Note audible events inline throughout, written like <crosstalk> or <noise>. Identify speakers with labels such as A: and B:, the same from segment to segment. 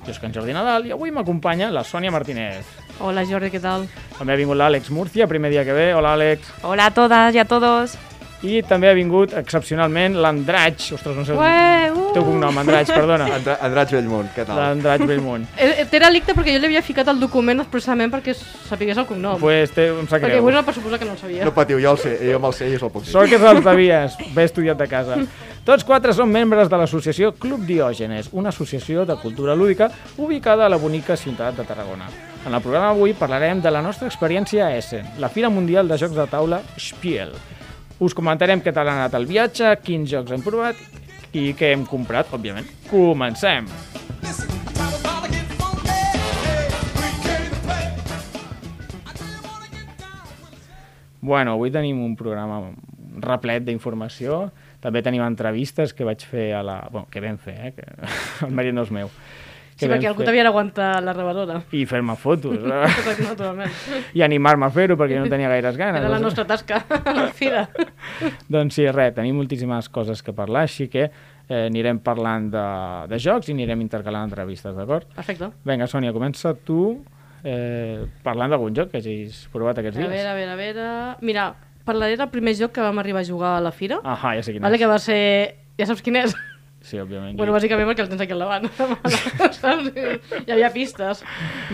A: Jo sóc en Jordi Nadal i avui m'acompanya la Sònia Martínez.
B: Hola Jordi, ¿qué tal?
A: També ha vingut l'Àlex Murcia, primer dia que ve, hola Àlex.
B: Hola a todas y a todos.
A: I també ha vingut, excepcionalment, l'Andratx, ostres, no sé el
B: Ué, uh.
A: teu cognom, Andratx, perdona.
C: Andra, Andratx Bellmunt, què tal?
A: L'Andratx Bellmunt.
B: <laughs> Eh, eh, Té delicte perquè jo li havia ficat el document expressament perquè sapigués el cognom.
A: Doncs pues té, em sap
B: perquè
A: greu.
B: avui era per suposar que no el sabia.
C: No patiu, jo el sé, jo me'l sé i us el puc dir.
A: Sort que te'ls devies, bé estudiat de casa. Tots quatre són membres de l'associació Club Diògenes, una associació de cultura lúdica ubicada a la bonica ciutat de Tarragona. En el programa d'avui parlarem de la nostra experiència a Essen, la Fira Mundial de Jocs de Taula Spiel. Us comentarem què tal ha anat el viatge, quins jocs hem provat i què hem comprat, òbviament. Comencem!
D: Listen, time is about to get funky. Yeah, we came to play. I tell you wanna get down with us.
A: Bueno, avui tenim un programa replet d'informació, també tenim entrevistes que vaig fer a la... Bueno, que vam fer, eh? Que... <laughs> El mèrit no és meu.
B: Sí, perquè algú t'havia d'aguantar la rebadora.
A: I fer-me
B: <laughs>
A: fotos, eh?
B: Naturalment.
A: I animar-me a fer-ho perquè jo no tenia gaires ganes.
B: Era la nostra
A: <laughs>
B: tasca a la fira.
A: Doncs sí, res, tenim moltíssimes coses que parlar, així que eh, anirem parlant de, de jocs i anirem intercalant entrevistes, d'acord?
B: Perfecte.
A: Vinga, Sònia, comença tu eh, parlant d'algun joc que hagis provat
B: A
A: aquests dies.
B: veure, a veure, a veure... Mira, parlaré del primer joc que vam arribar a jugar a la fira.
A: Ahà, ja sé quin Ah,
B: Vale,
A: és.
B: que va ser... Ja saps quin és?
A: Sí, òbviament.
B: Bueno, bàsicament perquè el tens aquí al davant. <laughs> Saps? Hi havia pistes.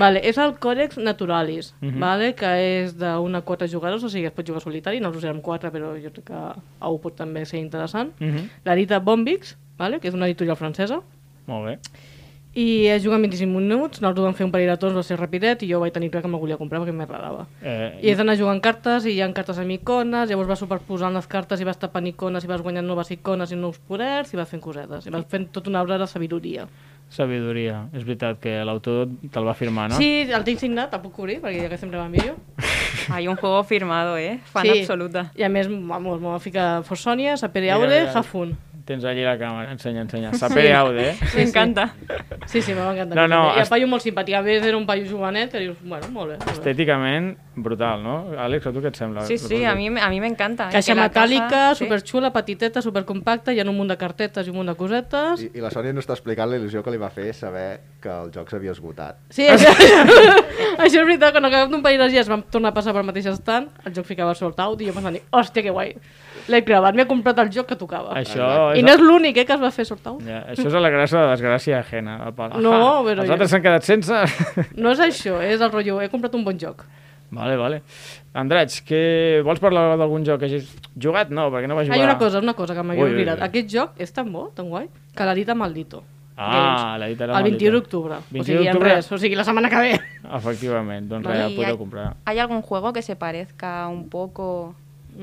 B: Vale, és el Codex Naturalis,
A: Mhm.
B: vale, que és d'una a quatre jugadors, o sigui, es pot jugar solitari, no us usarem quatre, però jo crec que a un pot també ser interessant.
A: Mm -hmm.
B: L'Arita Bombix, vale, que és una editorial francesa,
A: Molt bé.
B: i es juga en 25 minuts, nosaltres vam fer un parell de torns, va ser rapidet, i jo vaig tenir clar que me'l volia comprar perquè m'agradava.
A: Eh,
B: I has d'anar jugant cartes, i hi ha cartes amb icones, llavors vas superposant les cartes i vas tapant icones, i vas guanyant noves icones i nous poders, i vas fent cosetes, i vas fent tota una obra de sabidoria.
A: Sabidoria. És veritat que l'autor te'l va
E: Ah,
A: firmar, no?
B: Sí, el tinc signat, el puc cobrir, perquè ja que sempre
E: <laughs>
B: m'envio.
E: Hay un juego firmado, ¿eh? Fan
B: sí.
E: absoluta.
B: I a més, vamos, m'ho va ficar Forsònia, Sapere
A: Mira,
B: Aure,
A: mira.
B: Jafun.
A: Tens allí la càmera. Ensenya, ensenya. Saper sí. aude, eh?
E: Me encanta.
B: Sí, sí, m'ha encantat.
A: No, no,
B: I
A: est-
B: el paio molt simpàtic. A més, era un paio jovenet, que dius, bueno, molt bé. Molt bé.
A: Estèticament, brutal, no? Àlex, a tu què et sembla?
E: Sí, sí, a mí, me- a mí me encanta. ¿eh?
B: Caixa
E: Que la caja-
B: metàl·lica,
E: sí.
B: superxula, petiteta, supercompacta, hi ha un munt de cartetes i un munt de cosetes.
C: I, I la Sònia no està explicant la il·lusió que li va fer saber que el joc s'havia esgotat.
A: <laughs>
B: Sí, això, això, és veritat, quan acabem d'un parell de dies vam tornar a passar pel mateix estant, el joc ficava sort out i jo pensant, hòstia, que guai, l'he clavat, m'he comprat el joc que tocava.
A: Això
B: I
A: és,
B: no és l'únic eh, que es va fer sort out.
A: ja, això és a la gràcia de desgràcia ajena. del pal.
B: No,
A: Ahà,
B: però
A: Els
B: jo-
A: altres s'han quedat sense... <laughs>
B: No és això, és el rotllo, he comprat un bon joc.
A: vale, vale. Andratx, que vols parlar d'algun joc que hagis jugat? No, perquè no va jugar.
B: Ah, Hi ha una cosa, una cosa que m'havia
A: Ui, ui,
B: oblidat.
A: ui.
B: Aquest joc és tan bo, tan guai, que la dita Maldito.
A: Ah, la dita era
B: El 21
A: maldita.
B: d'octubre. O
A: 21
B: sigui, en
A: d'octubre.
B: res, o sigui, la setmana que ve.
A: Efectivament, doncs
E: Vale,
A: res,
E: i
A: podeu
E: hay-
A: comprar.
E: ¿Hay algún juego que se parezca un poco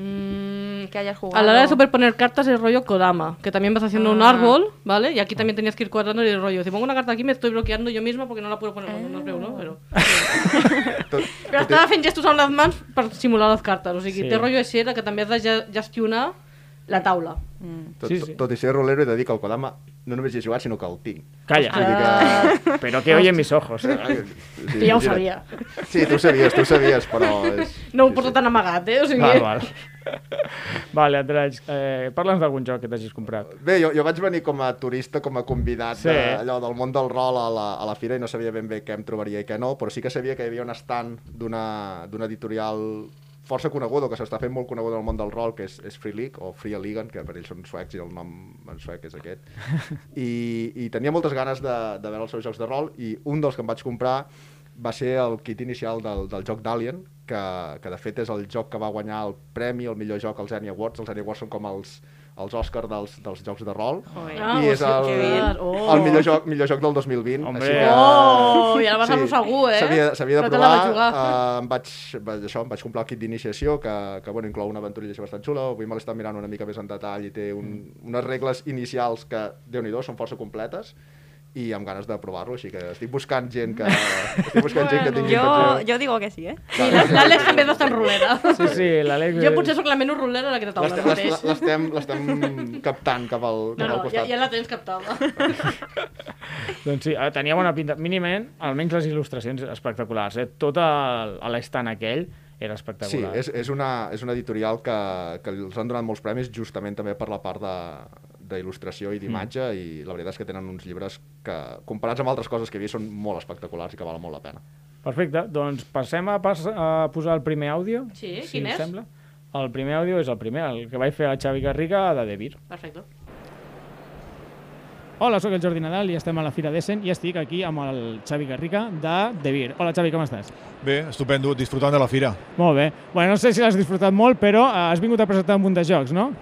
B: Mm,
E: que hayas jugado?
B: a la hora de superponer cartas es rollo Kodama, que también vas haciendo un
E: Ah.
B: árbol, ¿vale? Y aquí también tenías que ir cuadrando el rollo. Si pongo una carta aquí me estoy bloqueando yo misma porque no la puedo poner. Bueno, no creo, ¿no? Pero, <laughs>
C: Tot,
B: Ah. però estava fent gestos amb les mans per simular les cartes. O sigui,
A: Sí.
B: sí. té rotllo així era que també has de ge- gestionar la taula.
C: tot,
A: Sí,
C: sí,
A: sí.
C: sí. tot i ser rolero he de dir que el Kodama no només hi he jugat, sinó que el tinc.
A: Calla.
C: Vull dir que...
A: Però que oyen mis ojos. eh.
C: Sí,
B: Ah. Que ja ho
C: imagina't.
B: sabia.
C: Sí, tu ho sabies, tu ho sabies, però...
B: <laughs>
C: És...
B: No ho
C: sí,
B: porto
C: sí.
B: tan amagat, eh? O sigui,
A: Val, val. Vale, Andratx, eh, parla'ns d'algun joc que t'hagis comprat.
C: Bé, jo, jo vaig venir com a turista, com a convidat
A: Sí.
C: sí. de, allò del món del rol a la, a la fira i no sabia ben bé què em trobaria i què no, però sí que sabia que hi havia un stand d'una d'una editorial força coneguda, o que s'està fent molt coneguda al món del rol, que és, és Free League, o Free Ligan, que per ells són suecs i el nom en suec és aquest. I, i tenia moltes ganes de, de veure els seus jocs de rol i un dels que em vaig comprar va ser el kit inicial del, del joc d'Alien, que, que de fet és el joc que va guanyar el premi, el millor joc als Annie Awards. Els Annie Awards són com els, els Oscar dels, dels jocs de rol.
E: Joder.
B: Ah,
C: I és
B: hòstia,
C: el,
B: que bien. Oh.
C: el millor, joc, millor joc del 2020.
A: Hombre.
C: Així que...
B: Oh, ja la vas amb segur, eh?
C: S'havia s'havia de
B: Però te la
C: provar.
B: vas jugar.
C: eh, em vaig, vaig, això, em vaig comprar el kit d'iniciació, que, que bueno, inclou una aventurilla així bastant xula. Avui me l'estan mirant
A: Mm.
C: una mica més en detall i té un, unes regles inicials que, déu nhi són força completes i amb ganes de provar-lo, així que estic buscant
B: <laughs>
C: gent que, estic buscant gent que
B: Bueno.
C: tingui
E: Yo,
C: intenció.
E: yo digo que sí, ¿eh?
B: Sí, la- L'Àlex també és bastant rulera.
A: Sí, sí, l'Àlex...
B: Jo potser sóc la menys rulera d'aquesta taula ara mateix.
C: L'estem- l'est- L'estem l'estem captant cap al,
B: No,
C: cap
B: no,
C: al
B: ja,
C: costat.
B: ja la tens captada.
A: Doncs sí, eh, tenia bona pinta. Mínimament, almenys les il·lustracions espectaculars. Eh? Tot el- a l'estant aquell era
C: Sí,
A: espectacular.
C: és, és, una, és una editorial que, que els han donat molts premis justament també per la part de d'il·lustració i d'imatge mm. i la veritat és que tenen uns llibres que, comparats amb altres coses que hi havia, són molt espectaculars i que valen molt la pena.
A: Perfecte, doncs passem a, pas, a posar el primer àudio.
B: Sí,
A: si
B: quin
A: us
B: és?
A: Sembla. El primer àudio és el primer, el que vaig fer a Xavi Garriga de Devir.
B: Perfecte.
A: Hola, sóc el Jordi Nadal i estem a la Fira d'Essen i estic aquí amb el Xavi Garriga de Devir. Hola Xavi, com estàs?
F: Bé, estupendo, disfrutant de la fira.
A: Molt bé. Eh? Bueno, no sé si l'has disfrutat molt, però eh, has vingut a presentar un munt de jocs, no?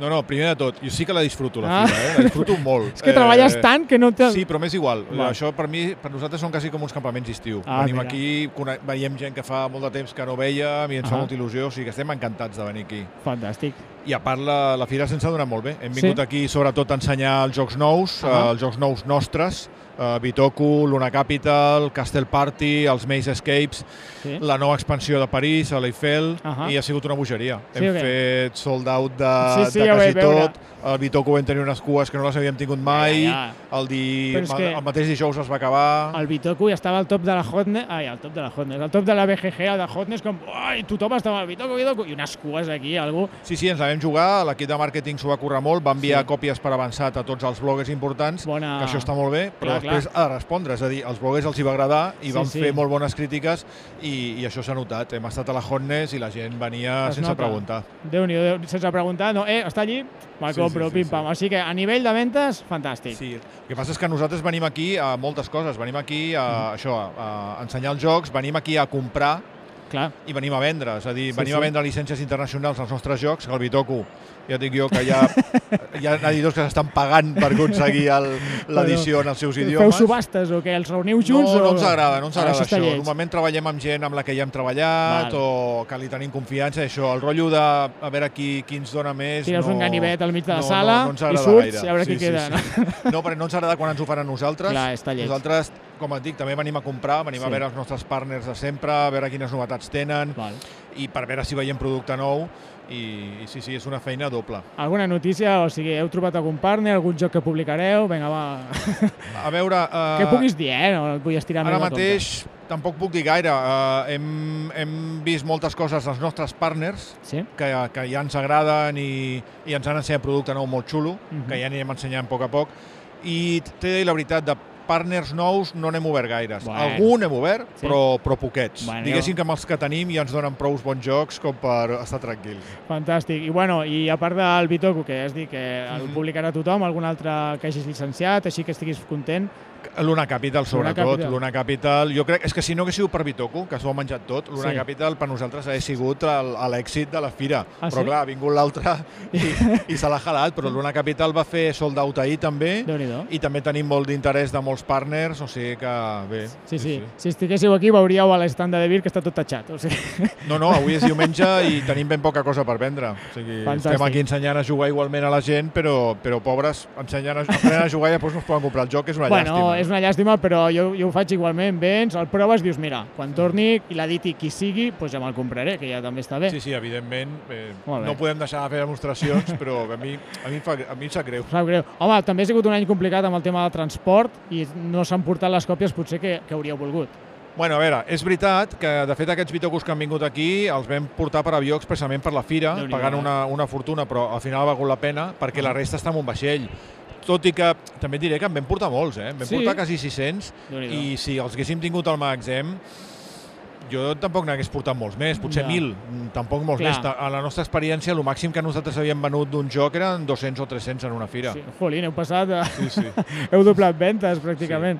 F: No, no, primer de tot, jo sí que la disfruto, la
A: Ah.
F: fira, eh? la
A: <laughs>
F: disfruto molt. Eh,
A: És que treballes tant que no te-
F: Sí, però m'és igual.
A: Val.
F: Això per mi, per nosaltres són quasi com uns campaments d'estiu.
A: Ah,
F: Venim
A: mira.
F: aquí, cone- veiem gent que fa molt de temps que no veiem i ens
A: Ah.
F: fa molta il·lusió, o sigui que estem encantats de venir aquí.
A: Fantàstic.
F: I a part, la, la fira se'ns ha donat molt bé. Hem
A: Sí?
F: vingut sí? aquí sobretot a ensenyar els jocs nous, uh
A: Ahà.
F: -huh. els jocs nous nostres, uh, Bitoku, Luna Capital, Castle Party, els Maze Escapes,
A: Sí.
F: la nova expansió de París, a l'Eiffel,
A: Ahà.
F: i ha sigut una bogeria.
A: Sí
F: Hem
A: o què?
F: fet sold out de,
A: Sí, sí,
F: de
A: ja ho
F: quasi
A: vaig veure.
F: tot, el Bitoku vam tenir unes cues que no les havíem tingut mai,
A: Ja,
F: El, di...
A: Però és que-
F: el mateix dijous es va acabar...
A: El Bitoku ja estava al top de la Hotness, ai, al top de la Hotness, al top de la BGG, al de Hotness, com, ai, tothom estava al Bitoku, Bitoku, i unes cues aquí, algú...
F: Sí, sí, ens la vam jugar, l'equip de màrqueting s'ho va currar molt, va enviar
A: Sí.
F: sí. còpies per avançat a tots els bloggers importants,
A: Bona-
F: que això està molt bé, però
A: Clar, clar.
F: després ha de respondre, és a dir, els bloggers els hi va agradar i
A: Sí,
F: van
A: sí.
F: fer molt bones crítiques i, i això s'ha notat. Hem estat a la Hotness i la gent venia
A: Es
F: sense
A: nota.
F: preguntar.
A: Déu-n'hi-do, Déu sense preguntar, no, eh, està allí, me'l
F: Sí,
A: compro,
F: sí, sí,
A: pim-pam.
F: sí.
A: Així que a nivell de ventes, fantàstic.
F: Sí, el que passa és que nosaltres venim aquí a moltes coses, venim aquí a,
A: Mm.
F: això, a, a ensenyar els jocs, venim aquí a comprar
A: Clar,
F: i venim a vendre, és a dir,
A: Sí,
F: venim
A: sí.
F: a vendre llicències internacionals als nostres jocs, que el Bitoku, ja et dic jo que
A: <laughs>
F: hi ha, hi ha editors que s'estan pagant per aconseguir el- l'edició en els seus
A: feu
F: idiomes.
A: subhastes o què? Els reuniu junts?
F: no,
A: o...
F: no ens agrada, no ens
A: Ah,
F: agrada
A: està
F: això.
A: lleig.
F: Normalment treballem amb gent amb la que ja hem treballat
A: Val.
F: o que li tenim confiança, i això, el rotllo de a veure qui, qui ens dona més...
A: Tires
F: no,
A: un ganivet al mig de la
F: no,
A: sala
F: no, no ens
A: i
F: agrada
A: surts
F: gaire.
A: i a veure qui queda,
F: Sí, sí. No, perquè no ens agrada quan ens ho fan a nosaltres.
A: Clar, està lleig.
F: Nosaltres, com et dic, també venim a comprar, venim
A: Sí.
F: a veure els nostres partners de sempre, a veure quines novetats tenen
A: Val.
F: i per veure si veiem producte nou i, i sí, sí, és una feina doble.
A: Alguna notícia? O sigui, heu trobat algun partner, algun joc que publicareu? Vinga, va.
F: A veure... Uh,
A: Què puguis dir, eh? No et vull estirar
F: Ara
A: més del compte.
F: mateix tampoc puc dir gaire. Uh, hem, hem vist moltes coses dels nostres partners
A: Sí?
F: que, que ja ens agraden i, i ens han ensenyat producte nou molt xulo,
A: Mhm.
F: que ja anirem ensenyant a poc a poc. I t'he de dir la veritat, de partners nous no n'hem obert gaires.
A: Bueno.
F: Algun hem obert,
A: Sí.
F: però, però poquets.
A: Bueno.
F: Diguéssim que amb els que tenim ja ens donen prous bons jocs com per estar tranquils.
A: Fantàstic. I, bueno, i a part del Bitoku, que has dit que el
F: Mhm.
A: publicarà tothom, algun altre que hagis llicenciat, així que estiguis content.
F: Luna Capital, sobretot.
A: Capital.
F: Luna Capital. Jo crec, és que si no hagués sigut per Bitoku, que s'ho ha menjat tot, Luna
A: Sí.
F: Capital per nosaltres ha sigut el- l'èxit de la fira.
A: Ah,
F: però
A: sí?
F: clar, ha vingut l'altre
A: <laughs>
F: i, i se l'ha jalat, però Luna Capital va fer sold out ahir també,
A: déu nhi
F: i també tenim molt d'interès de molts partners, o sigui que bé.
A: Sí, sí. Si estiguéssiu aquí veuríeu a l'estand de Devir que està tot tatxat. O sigui,
F: No, no, avui és diumenge i tenim ben poca cosa per vendre. O sigui,
A: Fantàstic.
F: estem aquí ensenyant a jugar igualment a la gent, però, però pobres, ensenyant a, aprenent a jugar i després no es poden comprar el joc, que és una
A: bueno,
F: llàstima.
A: és una llàstima, però jo, jo ho faig igualment. Vens, el proves, dius, mira, quan torni i l'editi qui sigui, doncs ja me'l compraré, que ja també està bé.
F: Sí, sí, evidentment. Eh,
A: Molt bé.
F: no podem deixar de fer demostracions, però a mi, a mi, em, fa, a mi em sap greu.
A: Em Sap greu. Home, també ha sigut un any complicat amb el tema del transport i no s'han portat les còpies potser que, que hauríeu volgut.
F: Bueno, a veure, és veritat que, de fet, aquests bitocos que han vingut aquí els vam portar per avió expressament per la fira,
A: Déu-n'hi-do,
F: pagant
A: eh? Mm.
F: una, una fortuna, però al final ha valgut la pena perquè la resta està en un vaixell. Tot i que també et diré que en vam portar molts, eh? En vam
A: Sí.
F: portar quasi 600
A: Déu-n'hi-do.
F: i si els haguéssim tingut al magatzem jo tampoc n'hagués portat molts més, potser
A: Ja.
F: 1.000, mm, tampoc molts
A: Clar.
F: més. Ta- A la nostra experiència, el màxim que nosaltres havíem venut d'un joc eren 200 o 300 en una fira.
A: Sí, jolín, heu passat, a...
F: Sí, sí.
A: <laughs> heu doblat ventes pràcticament.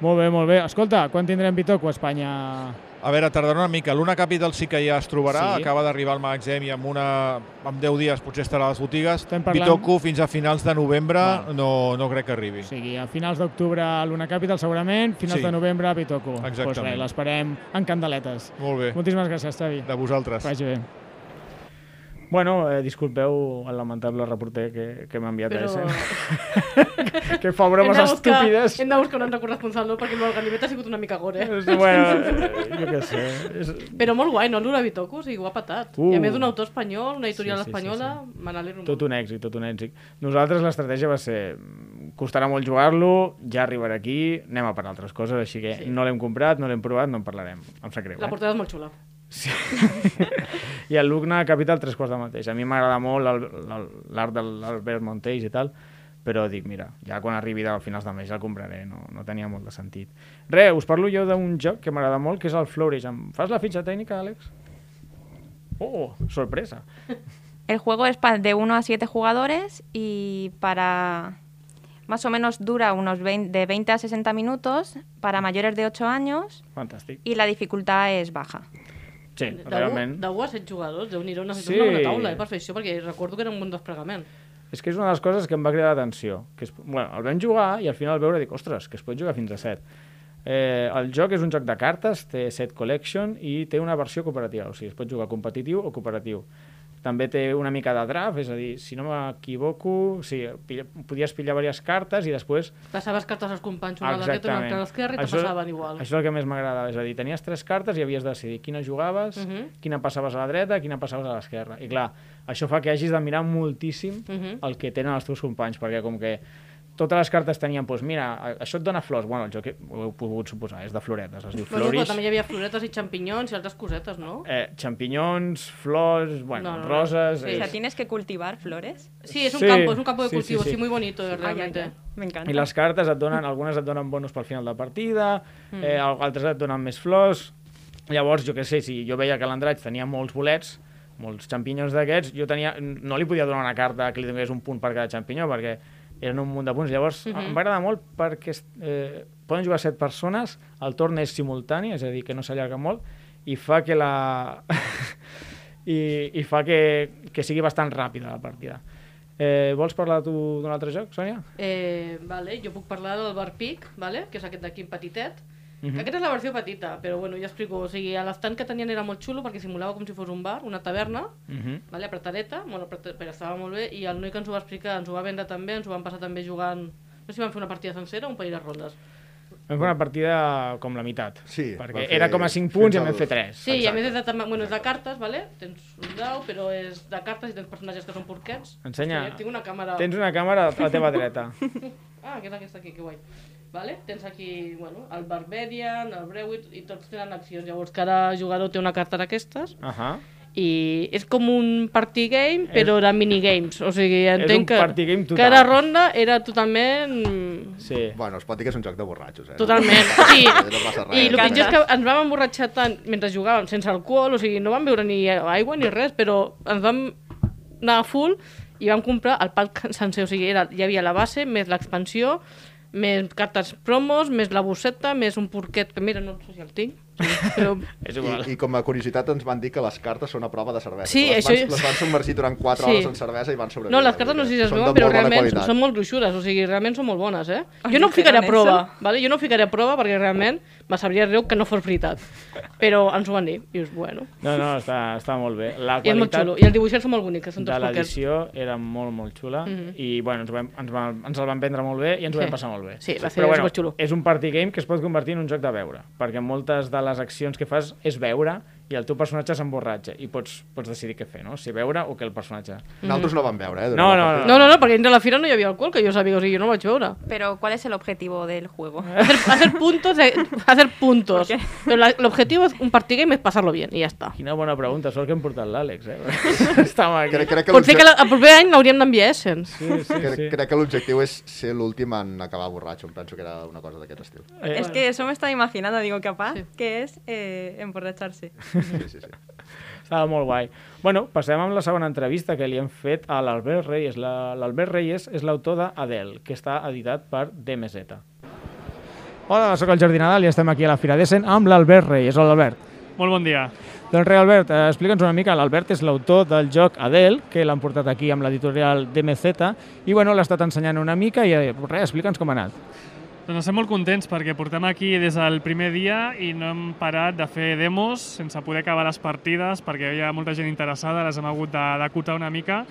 A: Molt bé, molt bé. Escolta, quan tindrem Bitoco a Espanya?
F: A veure, tardarà una mica. L'Una Capital sí que ja es trobarà,
A: Sí.
F: sí. acaba d'arribar al magatzem i en, una, en 10 dies potser estarà a les botigues.
A: Estem parlant-
F: Bitoku fins a finals de novembre
A: Val.
F: no, no crec que arribi.
A: O sigui, a finals d'octubre a Luna Capital segurament, finals
F: Sí.
A: de novembre a Bitoco. Doncs
F: Exactament.
A: res, l'esperem en candeletes.
F: Molt bé,
A: Moltíssimes gràcies, Xavi.
F: de vosaltres.
A: Que Vagi bé. Bueno, eh, disculpeu el lamentable reporter que, que m'ha enviat
B: Però-
A: a Essen.
B: <laughs>
A: que fa bromes estúpides.
B: Hem de buscar un altre corresponsal, no? Perquè l'organimet ha sigut una mica gore.
A: <laughs> És- Bueno, eh, jo què sé. És...
B: Però molt guai, no? L'Ura Bitoku, o sigui, ho ha patat.
A: Uh.
B: I a més d'un autor espanyol, una editorial
A: Sí, sí, sí,
B: espanyola, sí, sí, sí. me n'alegro
A: Tot un èxit, tot un èxit. Nosaltres l'estratègia va ser mm, costarà molt jugar-lo, ja arribarà aquí, anem a per altres coses, així que sí. no l'hem comprat, no l'hem provat, no en parlarem. Em sap greu,
B: La
A: eh?
B: portada és molt xula.
A: Sí. I el Lugna Capital, tres quarts del mateix. A mi m'agrada molt el- el- l'art de l'Albert Montells i tal, però dic, mira, ja quan arribi a finals de mes ja el compraré, no, no tenia molt de sentit. Re, us parlo jo d'un joc que m'agrada molt, que és el Flourish. Em fas la fitxa tècnica, Àlex? Oh, sorpresa.
E: El juego es pa- de 1 a 7 jugadores y para más o menos dura unos 20 de 20 a 60 minutos para mayores de 8 años
A: Fantàstic.
E: y la dificultad es baja.
A: Sí,
B: De- de
A: realment.
B: u- De 1 a 7 jugadors, déu nhi
A: Sí.
B: necessitem sí. una taula eh, per fer això, perquè recordo que era un bon desplegament.
A: És que és una de les coses que em va cridar l'atenció. Que es, bueno, el vam jugar i al final veure dic, ostres, que es pot jugar fins a 7. Eh, el joc és un joc de cartes, té set collection i té una versió cooperativa, o sigui, es pot jugar competitiu o cooperatiu. També té una mica de draft, és a dir, si no m'equivoco, sí, pilla, podies pillar diverses cartes i després
B: Passaves cartes als companys, una a la dreta, una altra a l'esquerra, i te passaven igual.
A: Això és el que més m'agradava, és a dir, tenies tres cartes i havies de decidir quina jugaves, uh -huh.
B: Mhm.
A: quina passaves a la dreta, quina passaves a l'esquerra. I clar, això fa que hagis de mirar moltíssim uh
B: Mhm.
A: -huh. el que tenen els teus companys, perquè com que totes les cartes tenien, doncs mira, a- això et dona flors, bueno, jo que ho heu pogut suposar, és de floretes, es diu
B: Però
A: floris,
B: també hi havia floretes i xampinyons i altres cosetes, no?
A: eh, xampinyons, flors, bueno,
B: No,
A: no,
B: no, no.
A: roses...
B: Sí.
E: O sea,
A: és-
E: tienes que cultivar flores.
B: Sí, es un
A: Sí,
B: campo, es un campo de
A: sí, sí,
B: cultivo,
A: sí.
B: sí, muy bonito,
E: Ay, ay,
B: realmente.
E: ay, Me encanta.
A: I les cartes et donen, algunes et donen bonus pel final de partida, mm. eh, al- altres et donen més flors. Llavors, jo què sé, si jo veia que l'Andratx tenia molts bolets, molts xampinyons d'aquests, jo tenia, no li podia donar una carta que li donés un punt per cada xampinyó, perquè eren un munt de punts. Llavors, mm -hmm. em va agradar molt perquè es- eh, poden jugar set persones, el torn és simultani, és a dir, que no s'allarga molt, i fa que la... <laughs> I, i fa que, que sigui bastant ràpida la partida. Eh, vols parlar tu d'un altre joc, Sònia?
B: Eh, vale, jo puc parlar del Bar Pic, vale? que és aquest d'aquí petitet. Uh -huh. Aquesta és la versió petita, però bueno, ja explico. O sigui, l'estant que tenien era molt xulo perquè simulava com si fos un bar, una taverna,
A: Mm -hmm.
B: vale? apretadeta, bueno, apret- però estava molt bé, i el noi que ens ho va explicar ens ho va vendre també, ens ho van passar també jugant... No sé si van fer una partida sencera o un parell de rondes.
A: Vam fer una partida com la meitat.
C: Sí,
A: Perquè
C: va fer
A: era com a 5 punts
C: fins
A: i en vam
C: al-
A: fer 3.
B: Sí, i a més és de, tam- bueno, és de cartes, vale? tens un dau, però és de cartes i tens personatges que són porquets.
A: Ensenya.
B: Hòstia, Tinc una càmera...
A: Tens una càmera a la teva dreta.
B: <laughs> Ah, que és aquesta aquí, que guai. Vale? Tens aquí, bueno, el Barbarian, el Brewit, i tots tenen accions. Llavors, cada jugador té una carta d'aquestes,
A: Ahà.
B: i és com un party game, però de minigames. O sigui,
A: un
B: entenc que
A: party game total.
B: cada ronda era totalment...
A: Sí.
C: Bueno, es pot dir que és un joc de borratxos, eh? <laughs>
B: Totalment, sí.
C: No passa res.
B: I el pitjor és que ens vam emborratxar tant mentre jugàvem, sense alcohol, o sigui, no vam beure ni aigua ni res, però ens vam anar a full i vam comprar el pack sencer, o sigui, era, hi havia la base, més l'expansió, més cartes promos, més la bosseta, més un porquet, que mira, no sé si el tinc, però...
A: És igual.
C: I, I com a curiositat ens van dir que les cartes són a prova de cervesa.
B: Sí,
C: que les
B: això-
C: Van, les van submergir durant 4
B: Sí.
C: hores en cervesa i van sobreviure.
B: No, les cartes no sé si es
C: Són de
B: veuen, però
C: molt bona
B: realment
C: qualitat.
B: són molt gruixudes, o sigui, realment són molt bones, eh?
E: Ai,
B: Jo no em ficaré a
E: dijeron
B: prova, vale? jo no em ficaré a prova perquè realment me sabria greu que no fos veritat. Però ens ho van dir, i dius, bueno...
A: No, no, està, està molt bé. La
B: I és molt
A: qualitat
B: xulo. I els dibuixers són molt bonics, que són
A: de
B: tots poquets.
A: l'edició era molt, molt xula. Mm -hmm. I, bueno, ens, ho vam, ens, vam, ens el van vendre molt bé i ens ho
B: Sí.
A: vam passar molt bé.
B: Sí, va ser
A: Però, bueno,
B: superxulo.
A: és un party game que es pot convertir en un joc de veure, perquè moltes de les accions que fas és veure i el teu personatge s'emborratxa i pots, pots decidir què fer, no? Si veure o que el personatge...
C: Nosaltres no vam veure, eh? durant
A: No,
C: la
A: no,
C: partida.
B: No, no, no, perquè entre la fira no hi havia alcohol, que jo sabia, o sigui, jo no ho vaig veure.
E: Pero ¿cuál es el objetivo del
A: <laughs>
E: juego? <laughs>
B: Hacer,
A: Eh,
B: hacer puntos, de, <laughs> hacer puntos.
E: ¿Por qué?
B: Pero la- el objetivo es un party game es pasarlo bien, y ja està.
A: Quina bona pregunta, sort que hem portat l'Àlex, eh?
B: <laughs>
A: Estava aquí.
C: Crec, crec que
B: Potser que
C: l'objectiu
B: la- el proper any l'hauríem d'enviar a Essence.
A: Sí, sí,
C: crec,
A: sí.
C: crec que l'objectiu és ser l'últim en acabar borratxo, em penso que era una cosa d'aquest estil.
A: Eh,
E: Es que eso me estaba imaginando, digo, capaz que es eh,
A: <laughs>
E: emborracharse.
C: Sí, sí, sí.
A: Estava molt guai. Bueno, passem amb la segona entrevista que li hem fet a l'Albert Reyes. La- L'Albert Reyes és l'autor d'Adel, que està editat per DMZ. Hola, sóc el Jordi Nadal i estem aquí a la Fira d'Essen amb l'Albert Reyes. Hola, Albert.
G: Molt bon dia.
A: Doncs res, Albert, eh, explica'ns una mica. L'Albert és l'autor del joc Adel, que l'han portat aquí amb l'editorial DMZ, i bueno, l'ha estat ensenyant una mica i eh, res, explica'ns com ha anat.
G: Doncs estem molt contents perquè portem aquí des del primer dia i no hem parat de fer demos sense poder acabar les partides perquè hi havia molta gent interessada, les hem hagut de- d'acotar una mica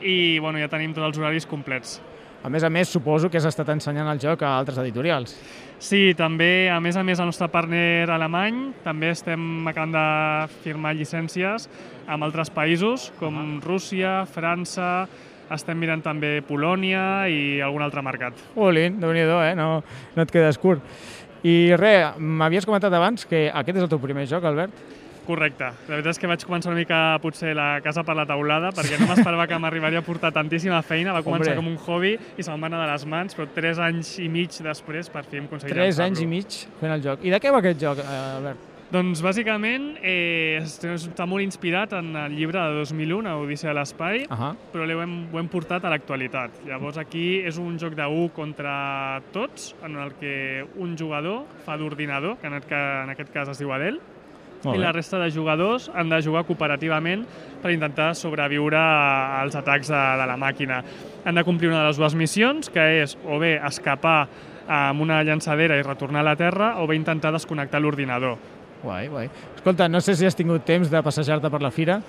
G: i bueno, ja tenim tots els horaris complets.
A: A més a més, suposo que has estat ensenyant el joc a altres editorials.
G: Sí, també, a més a més, el nostre partner alemany, també estem acabant de firmar llicències amb altres països, com
A: Ah.
G: Rússia, França, estem mirant també Polònia i algun altre mercat.
A: Olin, déu nhi eh? No, no et quedes curt. I re, m'havies comentat abans que Eh, aquest és el teu primer joc, Albert.
G: Correcte. La veritat és que vaig començar una mica, potser, la casa per la taulada, perquè no m'esperava que m'arribaria a portar tantíssima feina. Va començar
A: Hombre.
G: com un hobby i se'm va anar de les mans, però tres anys i mig després, per fi, hem aconseguit
A: Tres
G: llançar-lo.
A: anys i mig fent el joc. I de què va aquest joc, eh, Albert?
G: Doncs, bàsicament, eh, està molt inspirat en el llibre de 2001, a Odissea a l'espai,
A: Ahà.
G: però l'ho hem, ho hem portat a l'actualitat. Llavors aquí és un joc de 1 contra tots, en el que un jugador fa d'ordinador, que en aquest, ca- en aquest cas es diu Adel,
A: Molt
G: i
A: bé.
G: la resta de jugadors han de jugar cooperativament per intentar sobreviure a- als atacs de, de la màquina. Han de complir una de les dues missions, que és o bé escapar amb una llançadera i retornar a la Terra, o bé intentar desconnectar l'ordinador.
A: Guai, guai. Escolta, no sé si has tingut temps de passejar-te per la fira.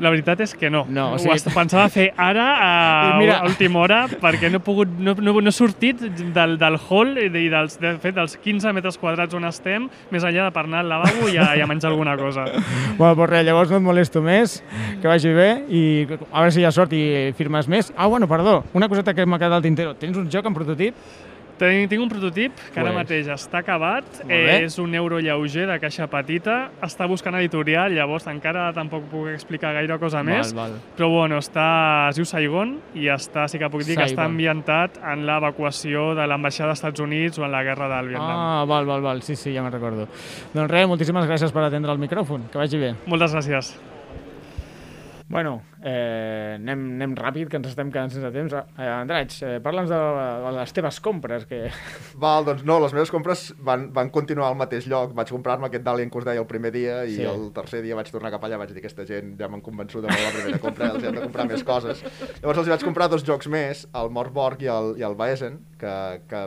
G: La veritat és que no.
A: No, o
G: o
A: sigui-
G: sigui... Ho pensava fer ara, a,
A: I mira-
G: Mira... a última hora, perquè no he, pogut, no, no, no he sortit del, del hall i de- i dels, de fet dels 15 metres quadrats on estem, més enllà de per anar al lavabo i a, i a menjar alguna cosa.
A: <laughs> Bueno, doncs res, llavors no et molesto més, que vagi bé i a veure si hi ha sort i firmes més. Ah, bueno, perdó, una coseta que m'ha quedat al tintero. Tens un joc en prototip?
G: Tinc, tinc un prototip que ara
A: Pues.
G: mateix està acabat,
A: bé.
G: eh, és un euro lleuger de caixa petita, està buscant editorial, llavors encara tampoc puc explicar gaire cosa més,
A: val.
G: però bueno, està, es diu Saigon i està, sí que puc dir que està
A: Saigon.
G: ambientat en l'evacuació de l'ambaixada dels Estats Units o en la guerra del Vietnam.
A: Ah, val, val, val, sí, sí, ja me'n recordo. Doncs res, moltíssimes gràcies per atendre el micròfon, que vagi bé.
G: Moltes gràcies.
A: Bueno, eh, anem, anem ràpid, que ens estem quedant sense temps. Eh, Andraig, eh, parla'ns de, de les teves compres, que... <laughs>
C: Val, doncs no, les meves compres van, van continuar al mateix lloc. Vaig comprar-me aquest Dalian que us deia el primer dia i
A: Sí.
C: sí. el tercer dia vaig tornar cap allà, vaig dir aquesta gent ja m'han convençut amb la primera compra, els hem de comprar més coses. Llavors els vaig comprar dos jocs més, el Morborg i el, i el Baesen, que, que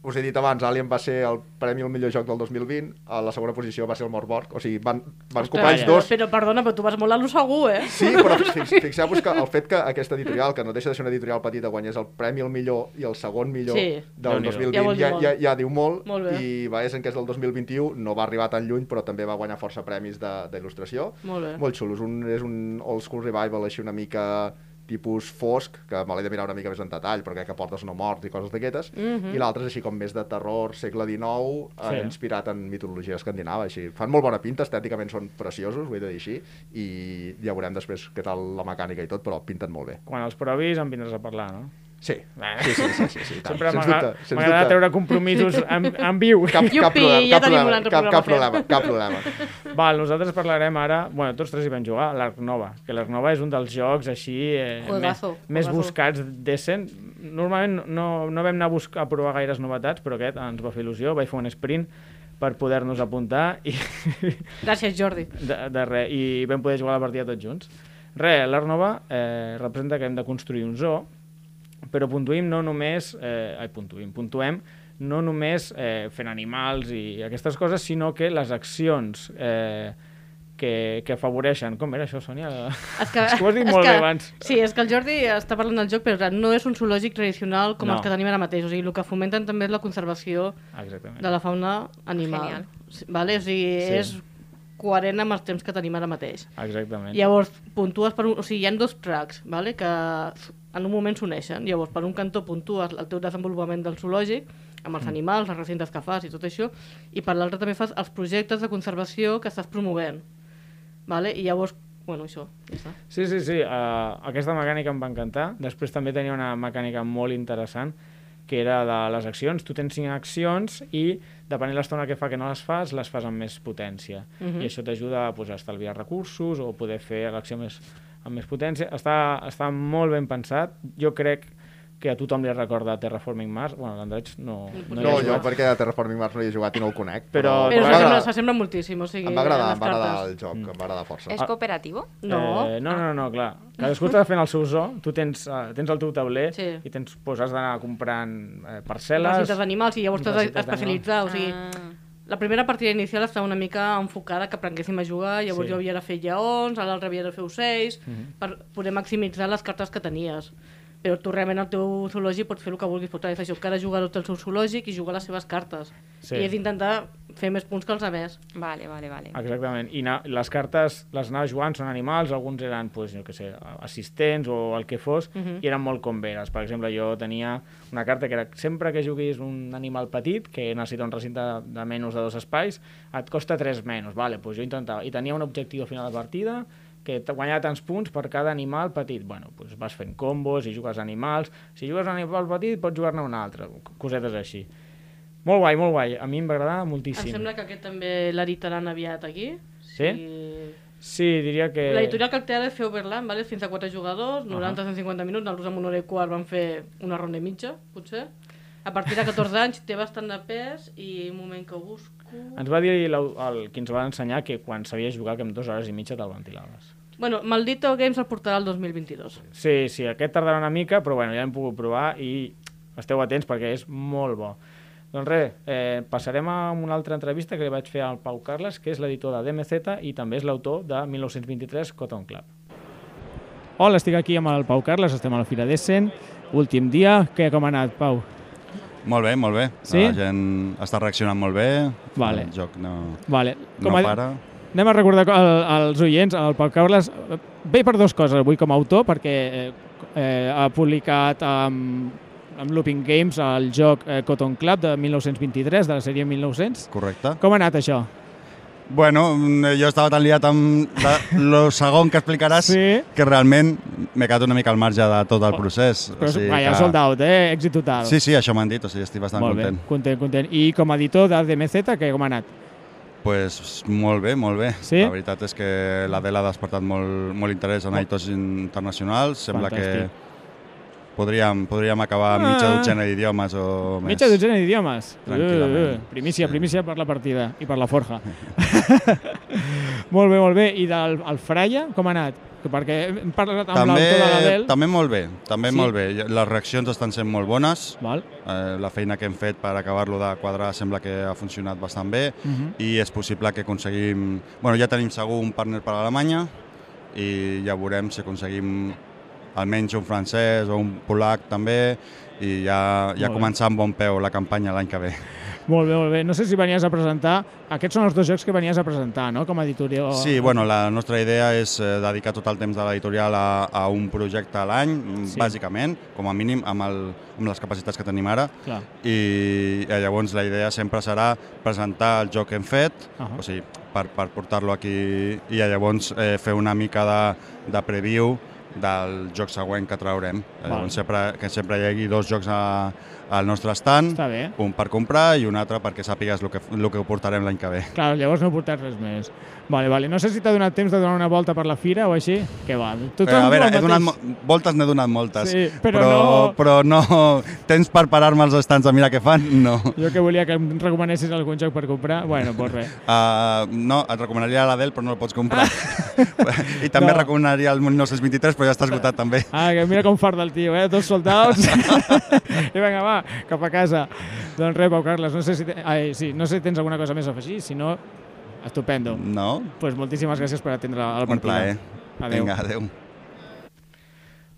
C: us he dit abans, Alien va ser el premi al millor joc del 2020, a la segona posició va ser el Morborg, o sigui, van, van comprar ells
B: Però-
C: dos
B: eh, Però perdona, però tu vas molt a lo segur, eh?
C: Sí, però fix, fixeu-vos que el fet que aquesta editorial, que no deixa de ser una editorial petita, guanyés el premi el millor i el segon millor
B: Sí.
C: del
A: Déu-n'hi-do.
C: 2020,
B: Ja vol dir
C: ja,
B: molt.
C: ja, ja diu molt,
B: Molt bé.
C: i Baesen, que és del 2021, no va arribar tan lluny, però també va guanyar força premis de- d'il·lustració.
B: Molt bé.
C: Molt xulo, és un, és un old school revival així una mica tipus fosc, que me l'he de mirar una mica més en detall, perquè que portes no morts i coses d'aquestes,
B: Mhm.
C: i l'altre és així com més de terror, segle XIX,
A: Sí.
C: sí. inspirat en mitologia escandinava, així. Fan molt bona pinta, estèticament són preciosos, ho he de dir així, i ja veurem després què tal la mecànica i tot, però pinten molt bé.
A: Quan els provis em vindràs a parlar, no? Eh.
C: Sí, sí, sí, sí, sí, sí
A: <laughs>
C: i tant.
A: Sempre
C: sens
A: m'agrada
C: dubte, sens
A: m'agrada
C: dubte.
A: treure compromisos en, en viu.
C: Cap,
B: Iupi,
C: cap problema,
B: ja
C: cap
B: tenim un
C: problema,
B: altre
C: cap, cap
B: programa
C: problema, cap problema.
A: Val, nosaltres parlarem ara... Bueno, tots tres hi vam jugar, a l'Arc Nova, que l'Arc Nova és un dels jocs així... Eh,
B: Juegazo,
A: més, més
B: juegazo.
A: buscats d'Essen. Normalment no, no vam anar a, buscar, a provar gaires novetats, però aquest ens va fer il·lusió, vaig fer un sprint per poder-nos apuntar i,
B: <laughs> Gràcies, Jordi.
A: de, de re, i vam poder jugar la partida tots junts. Re, l'Arc Nova eh, representa que hem de construir un zoo, però puntuïm no només... Eh, ai, puntuïm, puntuem no només eh, fent animals i aquestes coses, sinó que les accions eh, que, que afavoreixen... Com era això, Sònia?
B: És que,
A: <laughs> És que ho has dit
B: és
A: molt
B: que,
A: bé abans.
B: Sí, és que el Jordi està parlant del joc, però no és un zoològic tradicional com
A: No.
B: no. els que tenim ara mateix. O sigui, el que fomenten també és la conservació
A: Exactament.
B: de la fauna animal.
E: Genial.
B: Sí, Vale? O sigui,
A: Sí.
B: sí. és coherent amb els temps que tenim ara mateix.
A: Exactament.
B: Llavors, puntues per un... O sigui, hi ha dos tracks, vale? que en un moment s'uneixen. Llavors, per un cantó puntues el teu desenvolupament del zoològic, amb
A: Mm.
B: els animals, les recintes que fas i tot això, i per l'altre també fas els projectes de conservació que estàs promovent. Vale? I llavors, bueno, això, ja està.
A: Sí, sí, sí. Uh, aquesta mecànica em va encantar. Després també tenia una mecànica molt interessant, que era de les accions. Tu tens cinc accions i, depenent l'estona que fa que no les fas, les fas amb més potència. Uh -huh. I això t'ajuda pues, a estalviar recursos o poder fer l'acció més, amb més potència. Està, està molt ben pensat. Jo crec que a tothom li recorda Terraforming Mars. Bueno, l'Andreig no, no, hi ha
C: No, jo
A: jugat.
C: perquè a Terraforming Mars no hi he jugat i no el conec.
A: Però-
B: Però
C: em va
B: s'assembla
C: agradar-
B: s'assembla moltíssim, o sigui...
C: em va agradar,
B: les
C: em va agradar
B: cartes.
C: el joc, em va agradar força.
E: ¿Es cooperativo?
B: No,
A: Mm. Ah. Eh, no, no, no, clar. Cadascú està fent el seu zoo, tu tens, eh, tens el teu tauler
B: Sí.
A: i tens, doncs, has d'anar comprant eh, parcel·les...
B: necessites animals i llavors t'has
A: Necessites
B: d'especialitzar, o sigui...
E: Ah.
B: La primera partida inicial estava una mica enfocada que aprenguéssim a jugar, llavors
A: Sí.
B: sí. jo havia de fer lleons, ara l'altre havia de fer ocells, mm
E: Mhm.
B: -hmm. per poder maximitzar les cartes que tenies. Però tu realment al teu zoològic pots fer el que vulguis, pots és això, cada jugador té el seu zoològic i jugar les seves cartes.
A: Sí.
B: Sí. I és intentar fer més punts que els altres.
E: Vale, vale, vale.
A: Exactament. I na, les cartes les anava jugant, són animals, alguns eren, pues, jo què sé, assistents o el que fos, uh -huh. i eren molt converes. Per exemple, jo tenia una carta que era sempre que juguis un animal petit, que necessita un recinte de, de menys de dos espais, et costa tres menys. Vale, pues jo intentava. I tenia un objectiu al final de partida, que te guanyava tants punts per cada animal petit. Bueno, doncs vas fent combos i jugues animals. Si jugues a un animal petit, pots jugar-ne un altre. Cosetes així. Molt guai, molt guai. A mi em va agradar moltíssim.
B: Em sembla que aquest també l'editaran aviat aquí.
A: Sí? Sí, diria que...
B: L'editorial que el té ara és fer Overland, vale? fins a 4 jugadors, 90 150 minuts, nosaltres amb una hora i quart vam fer una ronda i mitja, potser. A partir de 14 anys té bastant de pes i un moment que ho busco...
A: Ens va dir el, el que ens va ensenyar que quan sabies jugar que en dues hores i mitja te'l ventilaves.
B: Bueno, Maldito Games el portarà el 2022.
A: Sí, sí, aquest tardarà una mica, però bueno, ja l'hem pogut provar i esteu atents perquè és molt bo. Doncs res, eh, passarem a una altra entrevista que li vaig fer al Pau Carles, que és l'editor de DMZ i també és l'autor de 1923 Cotton Club. Hola, estic aquí amb el Pau Carles, estem a la Fira d'Essen, últim dia, què com ha anat, Pau?
H: Molt bé, molt bé.
A: Sí?
H: La gent està reaccionant molt bé.
A: Vale.
H: El joc no,
A: Vale.
H: no
A: ha-
H: para.
A: Anem a recordar el, als oients, el Pau Carles eh, ve per dues coses avui com a autor, perquè eh, eh, ha publicat amb, amb Looping Games el joc eh, Cotton Club de 1923, de la sèrie 1900.
H: Correcte.
A: Com ha anat això?
H: Bueno, mm, jo estava tan liat amb la, lo segon que explicaràs
A: Sí.
H: que realment m'he quedat una mica al marge de tot el procés.
A: Oh. Però, o sigui, vaja, sold out, eh? Èxit total.
H: Sí, sí, això m'han dit, o sigui, estic bastant
A: molt
H: content.
A: bé, content, content. I com a editor de DMZ, que com ha anat?
H: Pues molt bé, molt bé.
A: Sí? Oh.
H: La veritat és que l'Adela ha despertat molt, molt interès en editors internacionals. Sembla
A: Fantàstic.
H: que podríem, podríem acabar amb mitja
A: Ah.
H: dotzena d'idiomes o més.
A: Mitja dotzena d'idiomes.
H: Tranquil·lament.
A: Uh, primícia,
H: Sí.
A: primícia per la partida i per la forja. <laughs> molt bé, molt bé. I del el Fraia, com ha anat? Perquè hem parlat amb
H: També,
A: l'autor de l'Adel.
H: també molt bé, també
A: Sí?
H: sí? molt bé. Les reaccions estan sent molt bones.
A: Val?
H: Eh, la feina que hem fet per acabar-lo de quadrar sembla que ha funcionat bastant bé
A: Mhm.
H: i és possible que aconseguim... Bueno, ja tenim segur un partner per a Alemanya i ja veurem si aconseguim almenys un francès o un polac també i ja, ja
A: Molt bé.
H: començar amb bon peu la campanya l'any que ve.
A: Molt bé, molt bé. No sé si venies a presentar... Aquests són els dos jocs que venies a presentar, no?, com a editorial.
H: Sí, bueno, la nostra idea és eh, dedicar tot el temps de l'editorial a, a un projecte a l'any, mm,
A: Sí.
H: bàsicament, com a mínim amb, el, amb les capacitats que tenim ara,
A: Clar.
H: i eh, llavors la idea sempre serà presentar el joc que hem fet, uh
A: Ahà.
H: -huh. o sigui, per, per portar-lo aquí i llavors eh, fer una mica de, de preview del joc següent que traurem.
A: Val.
H: Llavors, sempre, que sempre hi hagi dos jocs a, al nostre stand,
A: Està bé.
H: un per comprar i un altre perquè sàpigues el que, el que ho portarem l'any que ve.
A: Clar, llavors no portes res més. Vale, vale. No sé si t'ha donat temps de donar una volta per la fira o així. Que va. Tothom
H: Però, Eh, a
A: diu
H: veure,
A: el
H: he donat,
A: mateix.
H: mo- voltes n'he donat moltes,
A: Sí, però no-
H: però no... Tens per parar-me als estants a mirar què fan?
A: <laughs>
H: No.
A: Jo que volia que em recomanessis algun joc per comprar. Bueno, doncs res.
H: Uh, no, et recomanaria l'Adel, però no el
A: <laughs>
H: pots comprar. I també
A: No.
H: no. recomanaria el 1923, però ja està esgotat també.
A: Ah, que mira com farda el tio, eh? Dos
H: <laughs>
A: soldats. I vinga, va, cap a casa. Doncs res, Pau Carles, no sé si, te... Ai, sí, no sé si tens alguna cosa més a afegir, si no, estupendo. Doncs
H: No,
A: pues moltíssimes gràcies per atendre la
H: un
A: partida.
H: plaer.
A: Adéu.
H: Vinga, adéu.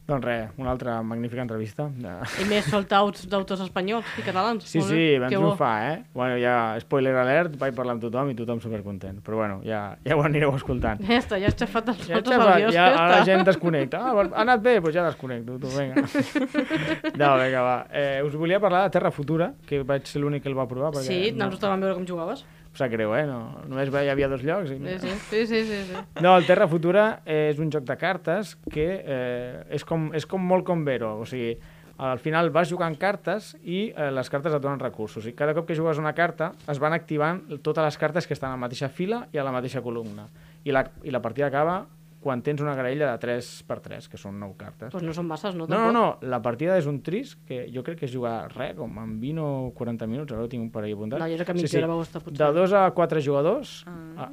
A: Doncs res, una altra magnífica entrevista.
B: I més sold-outs d'autors espanyols i catalans.
A: Sí,
B: Molt bé.
A: sí, vam
B: Que bo.
A: triomfar, eh? Bueno, ja, spoiler alert, vaig parlar amb tothom i tothom supercontent. Però bueno, ja, ja ho anireu escoltant.
B: Ja està, ja has xafat els
A: Ja,
B: altres
A: xaval,
B: avions.
A: ja, ara la
B: està.
A: gent desconnecta. Ah, ha anat bé? Doncs ja desconnecto, tu, vinga.
B: <laughs>
A: No, vinga, va. Eh, us volia parlar de Terra Futura, que vaig ser l'únic que el va provar. Perquè
B: Sí,
A: no,
B: nosaltres te vam veure com jugaves.
A: Em sap greu, eh? No, només va- hi havia dos llocs. I...
B: Sí, sí, sí, sí. sí, sí.
A: No, el Terra Futura eh, és un joc de cartes que eh, és, com, és com molt com Vero, o sigui, al final vas jugant cartes i eh, les cartes et donen recursos. I cada cop que jugues una carta es van activant totes les cartes que estan a la mateixa fila i a la mateixa columna. I la, i la partida acaba quan tens una graella de 3x3, que són 9 cartes.
B: Pues no són masses, no?
A: No, no,
B: tampoc.
A: no, la partida és un tris que jo crec que és jugar res, com en 20 o 40 minuts, ara ho tinc un parell apuntat.
B: No, jo crec que mitja hora vau estar, potser.
A: De 2 a 4 jugadors, ah.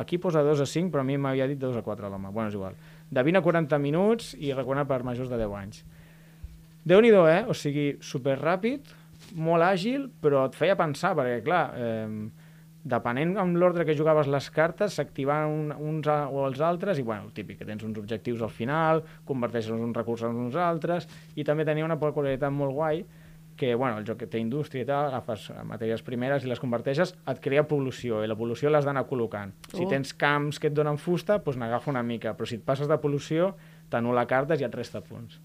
A: aquí posa 2 a 5, però a mi m'havia dit 2 a 4 l'home, bueno, és igual. De 20 a 40 minuts i recomanat per majors de 10 anys. déu nhi eh? O sigui, super ràpid, molt àgil, però et feia pensar, perquè, clar, eh, depenent amb l'ordre que jugaves les cartes, s'activaven un, uns a, o els altres, i, bueno, el típic, que tens uns objectius al final, converteixes uns recursos en uns altres, i també tenia una peculiaritat molt guai, que, bueno, el joc que té indústria i tal, agafes eh, matèries primeres i les converteixes, et crea pol·lució, i la pol·lució l'has d'anar col·locant. Si
B: Oh.
A: tens camps que et donen fusta, doncs n'agafa una mica, però si et passes de pol·lució, t'anul·la cartes i et resta punts.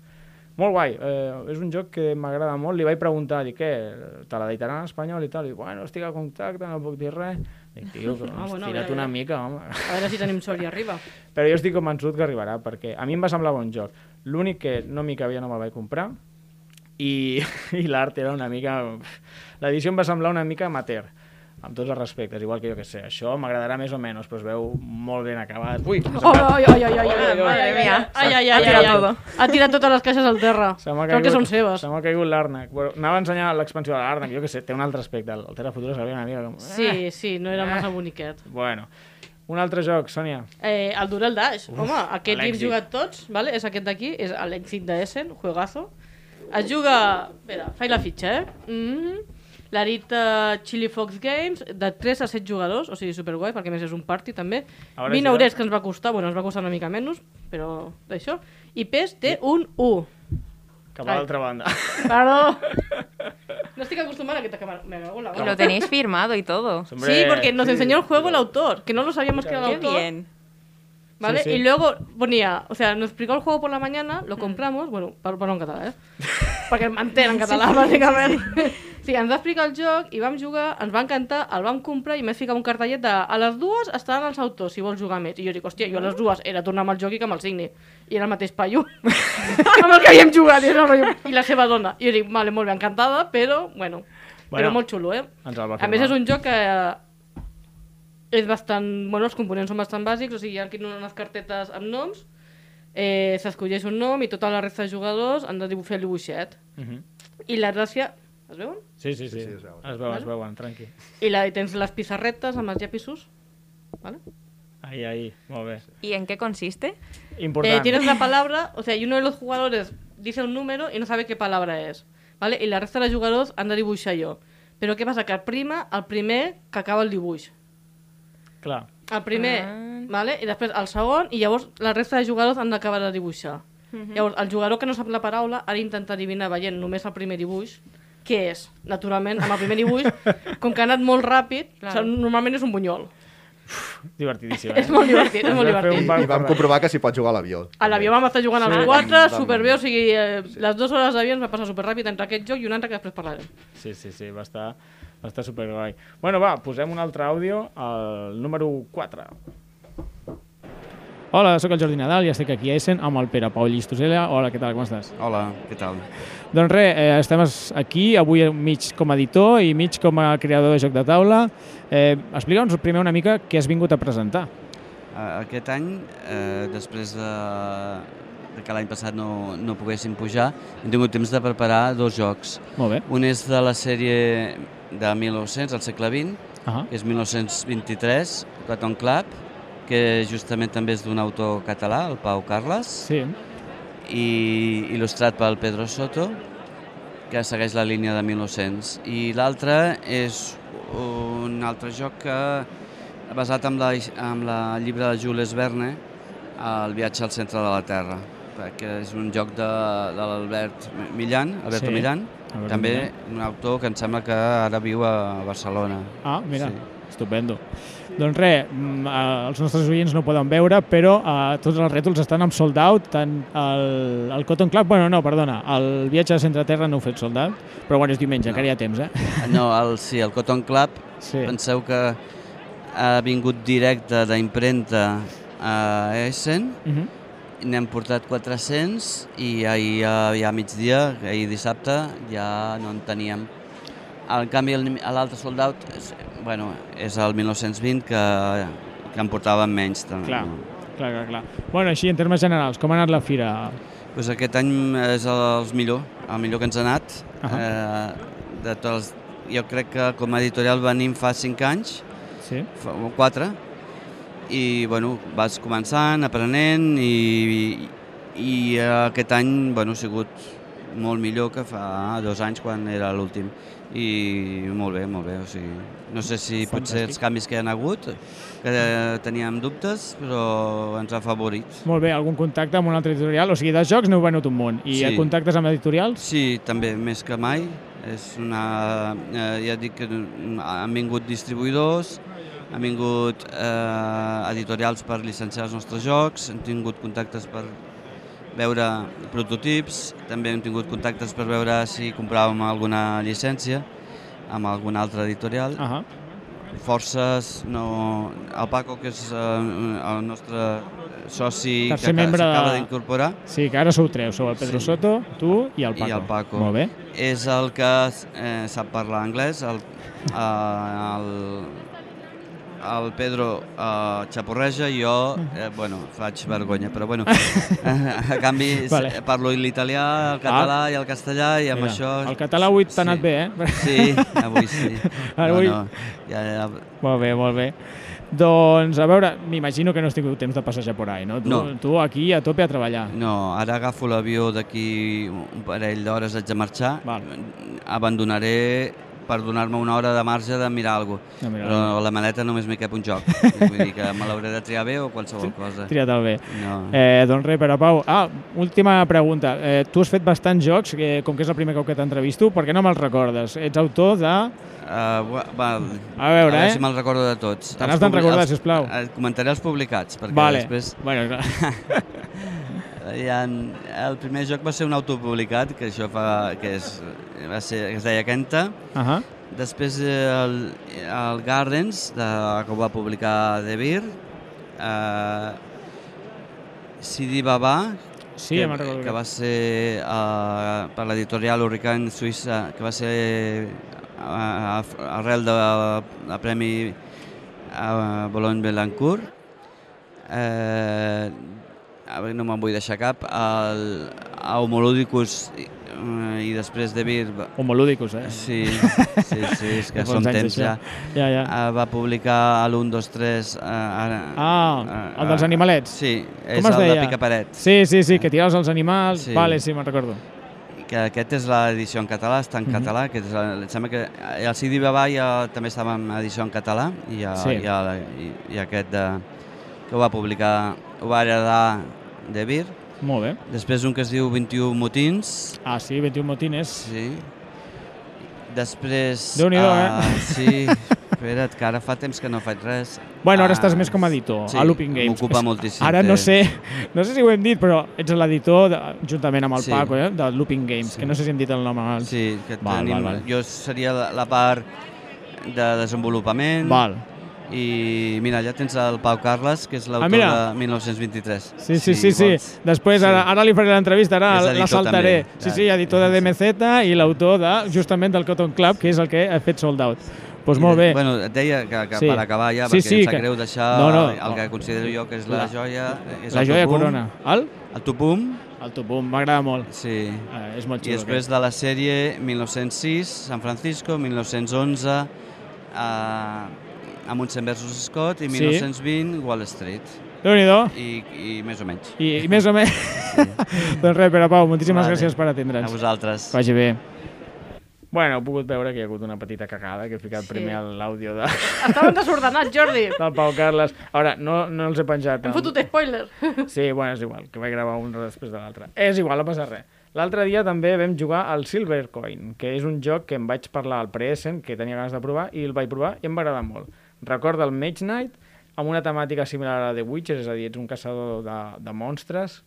A: Molt guai, eh, és un joc que m'agrada molt. Li vaig preguntar, dic, què, te la deitaran en espanyol i tal? Dic, bueno, estic a contacte, no puc dir res. Dic, tio,
B: <laughs>
A: però
B: Ah,
A: ah,
B: bueno,
A: bueno,
B: a
A: tira't
B: veure, a
A: una
B: veure.
A: mica, home.
B: A veure si tenim sort i arriba.
A: Però jo estic convençut que arribarà, perquè a mi em va semblar bon joc. L'únic que no m'hi cabia no me'l vaig comprar i, <laughs> i l'art era una mica... L'edició em va semblar una mica amateur, amb tots els respectes, igual que jo que sé. Això m'agradarà més o menys, però es veu molt ben acabat. Ui, m'ha
B: Ai,
A: semblat-
B: ai, ai, ai, ai,
A: Oi,
B: ai,
A: oi,
B: ai, ai,
E: mía.
B: ai, ai,
E: Ha
B: ai,
E: tirat
B: ai,
E: todo.
B: Ha tirat totes les caixes al terra.
A: Se m'ha
B: Crec que
A: caigut-
B: són seves.
A: Se m'ha caigut l'Arnac. Bueno, anava a ensenyar l'expansió de l'Arnac, jo que sé, té un altre aspecte. El Terra Futura s'havia una mica com... eh.
B: Sí, sí, no era massa boniquet.
A: Bueno, un altre joc, Sònia.
B: Eh, el Dural Dash, Uf, home, aquest hi hem
A: l'èxit.
B: jugat tots, vale? és aquest d'aquí, és l'èxit d'Essen, juegazo. Es juga... Espera, faig la fitxa, eh? <laughs> Mm -hmm. L'Arita Chili Fox Games, de 3 a 7 jugadors, o sigui, superguai, perquè a més és un party també.
A: A veure,
B: 20
A: jo-
B: eurets que ens va costar, bueno, ens va costar una mica menys, però d'això. I PES té un 1.
A: Cap a
B: Ai.
A: l'altra banda.
B: Perdó! No estic acostumada a aquesta cámara. Me cago en la
E: Y lo
B: boca.
E: tenéis firmado y todo.
A: Hombre,
B: Sí, porque nos enseñó el juego el autor, que no lo sabíamos que era el
E: Qué
B: autor.
E: bien.
B: ¿Vale?
A: Sí, sí.
B: Y luego ponía, o sea, nos explicó el juego por la mañana,
E: Mm.
B: lo compramos, bueno, par- perdó en català,
A: <laughs>
B: eh? Perquè el manté en català, bàsicament. <laughs> Sí, ens va explicar el joc i vam jugar, ens va encantar, el vam comprar i m'he ficat un cartellet de a les dues estaran els autors, si vols jugar més. I jo dic, hòstia, jo a les dues era tornar amb el joc i que me'l signi. I era el mateix
A: <laughs>
B: paio amb el que havíem jugat. I, era el rotllo, I la seva dona. I jo dic, vale, molt bé, encantada, però, bueno, bueno
A: Bueno,
B: però molt xulo, eh?
A: ens el va
B: A més,
A: firmar.
B: és un joc que eh, és bastant... Bueno, els components són bastant bàsics, o sigui, hi ha aquí unes cartetes amb noms, eh, s'escolleix un nom i tota la resta de jugadors han de dibu- fer el dibuixet.
A: Mhm.
B: I la gràcia... Es veuen?
A: Sí, sí, sí.
C: sí, es veuen.
A: Es veuen, es veuen, tranqui.
B: I la, i tens les pissarretes amb els llapissos. Vale?
A: Ahí, ahí, molt bé.
E: ¿Y en qué consiste?
A: Important.
B: Eh, tienes la palabra, o sea, y uno de los jugadores dice un número y no sabe qué palabra es. ¿vale? I la resta de jugadors han de dibuixar jo. Però què passa? Que prima el primer que acaba el dibuix.
A: Clar.
B: El primer,
E: Ah.
B: vale? i després el segon, i llavors la resta de jugadors han d'acabar de dibuixar. Llavors, el jugador que no sap la paraula ha d'intentar adivinar veient només el primer dibuix què és. Naturalment, amb el primer <laughs> dibuix, com que ha anat molt ràpid,
E: Claro.
B: o sigui, normalment és un bunyol.
A: Divertidíssim,
B: És molt divertit, és molt
A: Ens va fer
B: divertit.
C: I,
A: un banc
C: I vam
A: per-
C: comprovar que s'hi pot jugar a l'avió.
B: A l'avió vam estar jugant sí. als
C: Sí.
B: 4,
C: Vam- vam-
B: superbé, o sigui, eh, les dues hores d'avió ens va passar superràpid entre aquest joc i un altre que després <laughs> parlarem.
A: Sí, sí, sí, va estar, va estar superguai. Bueno, va, posem un altre àudio, al número 4. Hola, sóc el Jordi Nadal i estic aquí a Essen amb el Pere Pau Llistosella. Hola, què tal, com estàs?
H: Hola, què tal?
A: Doncs res, eh, estem es- aquí avui mig com a editor i mig com a creador de joc de taula. Eh, Explica'ns primer una mica què has vingut a presentar.
I: Eh, Aquest any, eh, després de, de que l'any passat no, no poguessin pujar, hem tingut temps de preparar dos jocs.
A: Molt bé.
I: Un és de la sèrie de 1900, al segle XX,
A: Ah,
I: que és 1923, Cotton Club, que justament també és d'un autor català, el Pau Carles,
A: sí.
I: i il·lustrat pel Pedro Soto, que segueix la línia de 1900. I l'altre és un altre joc que, basat en la, en la llibre de Jules Verne, El viatge al centre de la Terra, que és un joc de, de l'Albert Millan, Alberto sí,
A: Sí,
I: Millan,
A: Alberto
I: també
A: Millan.
I: un autor que em sembla que ara viu a Barcelona.
A: Ah, mira, sí.
I: Sí.
A: estupendo. Doncs res, mm, eh, els nostres oients no ho poden veure, però eh, tots els rètols estan amb sold out, tant el, el Cotton Club, bueno, no, perdona, el viatge a Centre Terra no ho he fet sold out, però bueno, és diumenge,
I: No.
A: encara hi ha temps, eh?
I: No, el, sí, el Cotton Club
A: Sí.
I: Penseu que ha vingut directe d'impremta a Essen,
A: Uh -huh.
I: n'hem portat 400 i ahir a, ja a migdia, ahir dissabte, ja no en teníem. En canvi, el- l'altre sold out és, bueno, és el 1920 que, que en portaven menys. També,
A: Clar,
I: no?
A: Clar, clar, clar. Bueno, així, en termes generals, com ha anat la fira?
I: Pues aquest any és el millor, el millor que ens ha anat. Uh
A: Ahà.
I: -huh. eh, de tots, jo crec que com a editorial venim fa 5 anys,
A: Sí?
I: fa 4, i bueno, vas començant, aprenent, i, i, i aquest any bueno, ha sigut molt millor que fa dos anys quan era l'últim. I molt bé, molt bé. O sigui, no sé si Fantàstic. potser els canvis que hi ha hagut, que eh, teníem dubtes, però ens ha afavorit.
A: Molt bé, algun contacte amb un altre editorial? O sigui, de jocs n'heu venut un munt. I
I: Sí.
A: sí. contactes amb editorials?
I: Sí, també, més que mai. És una... Eh, ja dic que han vingut distribuïdors, han vingut eh, editorials per llicenciar els nostres jocs, hem tingut contactes per veure prototips, també hem tingut contactes per veure si compràvem alguna llicència amb alguna altra editorial.
A: Ah -ha.
I: Forces, no... El Paco, que és eh, el nostre soci
A: Tercer
I: que
A: membre de-
I: s'acaba d'incorporar,
A: Sí, que ara sou tres, sou el Pedro
I: Sí.
A: sí. Soto, tu i el Paco.
I: I el Paco.
A: Molt bé.
I: És el que eh, sap parlar anglès, el, eh, el, el Pedro eh, xaporreja i jo,
A: Mm.
I: eh, bueno, faig vergonya, però
A: <laughs>
I: bueno, <laughs> a canvi
A: Vale. Ah.
I: vale. parlo l'italià, el català i el castellà i amb
A: Mira,
I: això...
A: el català avui t'ha anat bé, eh?
I: Sí, avui
A: <laughs>
I: sí.
A: Avui-
I: No, no, ja, ja,
A: Molt bé, molt bé. Doncs, a veure, m'imagino que no has tingut temps de passejar por ahí, no? Tu,
I: No.
A: tu aquí a tope a treballar.
I: No, ara agafo l'avió d'aquí un parell d'hores, haig de marxar.
A: Val.
I: Abandonaré per donar-me una hora de marge de mirar alguna cosa.
A: De mirar
I: Però a la maleta només m'hi cap un
A: <laughs>
I: joc. Vull dir que me l'hauré de triar bé o qualsevol cosa.
A: Triat el bé.
I: No.
A: Eh, doncs res, Pere Pau. Ah, última pregunta. Eh, tu has fet bastants jocs, eh, com que és el primer cop que t'entrevisto, per què no me'ls recordes? Ets autor de...
I: Uh, va, va,
A: A veure, eh?
I: si me'ls recordo de tots.
A: Te
I: Els
A: n'has d'en
I: publi-
A: recordar,
I: els-
A: sisplau.
I: eh, Comentaré els publicats, perquè
A: vale.
I: després...
A: Bueno, clar.
I: <laughs> Hi ha, el primer joc va ser un autopublicat, que això fa, que és, va ser, que es deia Kenta,
A: Ah, ah.
I: Després eh, el, el Gardens, de, que ho va publicar De Beer, eh, Sidi Babà,
A: Sí, ja me'n
I: que,
A: recordo.
I: que va ser eh, per l'editorial Hurricane Suïssa, que va ser eh, arrel del de, Premi eh, Boulogne-Belancourt. Eh, a veure, no me'n vull deixar cap. El, a Homoludicus i, eh, i després De Beer va-
A: Homolúdicos, eh?
I: Sí, sí, sí, és
A: <laughs>
I: que
A: Fa
I: són
A: molts anys,
I: temps ja.
A: això. Ja, ja.
I: Eh, va publicar l'1, 2, 3... Eh, ara,
A: Ah,
I: eh,
A: el dels
I: eh,
A: animalets?
I: Sí, Eh, és
A: Com es
I: el de
A: deia?
I: Picaparet. Eh.
A: Sí, sí, sí, que tiraves els animals. Sí.
I: Sí.
A: Vale, sí, me'n recordo.
I: Que aquest és l'edició en català, està
A: Mhm.
I: en català, que és, la- em sembla que eh, el CD Babà ja també estava en edició en català i, a,
A: Sí.
I: i, a, i, i aquest de, que ho va publicar, ho va heredar de Vir.
A: Molt bé.
I: Després un que es diu 21 motins,
A: Ah, sí, 21 motines.
I: sí. Després...
A: Déu-n'hi-do,
I: ah,
A: eh? <laughs>
I: Sí, espera't, que ara fa temps que no faig res.
A: Bueno, ara
I: Ah,
A: estàs més com a editor
I: sí,
A: a Looping Games.
I: m'ocupa
A: És-
I: moltíssim
A: Ara no
I: temps.
A: sé, no sé si ho hem dit, però ets l'editor, de- juntament amb el
I: Sí.
A: Paco, eh, de Looping Games,
I: Sí.
A: que no sé si hem dit el nom abans.
I: Sí, que
A: Val,
I: tenim,
A: val, val.
I: jo seria la, la part de desenvolupament
A: Val.
I: i mira, allà tens el Pau Carles, que és l'autor
A: Ah, mira.
I: de 1923.
A: Sí, sí, sí, sí.
I: vols.
A: Després,
I: Sí.
A: ara, ara li faré l'entrevista,
I: És
A: ara la
I: editor
A: saltaré.
I: també. Ah,
A: Sí, sí, editor de DMZ i l'autor de, justament del Cotton Club, que és el que ha fet Sold Out. Doncs pues
I: I
A: molt
I: de-
A: bé.
I: Bueno, et deia que, que sí.
A: Sí.
I: per acabar ja,
A: Sí,
I: perquè
A: sí,
I: em sap
A: que-
I: greu deixar
A: No, no.
I: el que considero jo que és la,
A: La-
I: joia... eh, És
A: la
I: el
A: joia
I: Tupum,
A: corona. El?
I: El Tupum,
A: El Tupum, m'agrada molt.
I: sí.
A: Eh, és molt
I: I
A: xulo.
I: després de la sèrie 1906, San Francisco, 1911, eh, a Munson versus Scott i
A: Sí.
I: 1920, Wall Street.
A: aquest. Déu-n'hi-do.
I: I, i més o menys.
A: I, I més o menys... <laughs> doncs res, Pere Pau, moltíssimes
I: Vale.
A: gràcies per atendre'ns.
I: A vosaltres.
A: Que vagi bé. Bueno, heu pogut veure que hi ha hagut una petita cagada, que he ficat
B: Sí.
A: sí. primer l'àudio de,
B: Estaven desordenats, Jordi.
A: <laughs> del Pau Carles. A veure, no, no els he penjat.
B: Hem
A: no.
B: fotut spoiler.
A: Sí, bueno, és igual, que vaig gravar un després de l'altre. És igual, no passa res. L'altre dia també vam jugar al Silver Coin, que és un joc que em vaig parlar al Preessen, que tenia ganes de provar, i el vaig provar i em va agradar molt. Recorda el Mage Knight, amb una temàtica similar a la de Witcher, és a dir, ets un caçador de, de monstres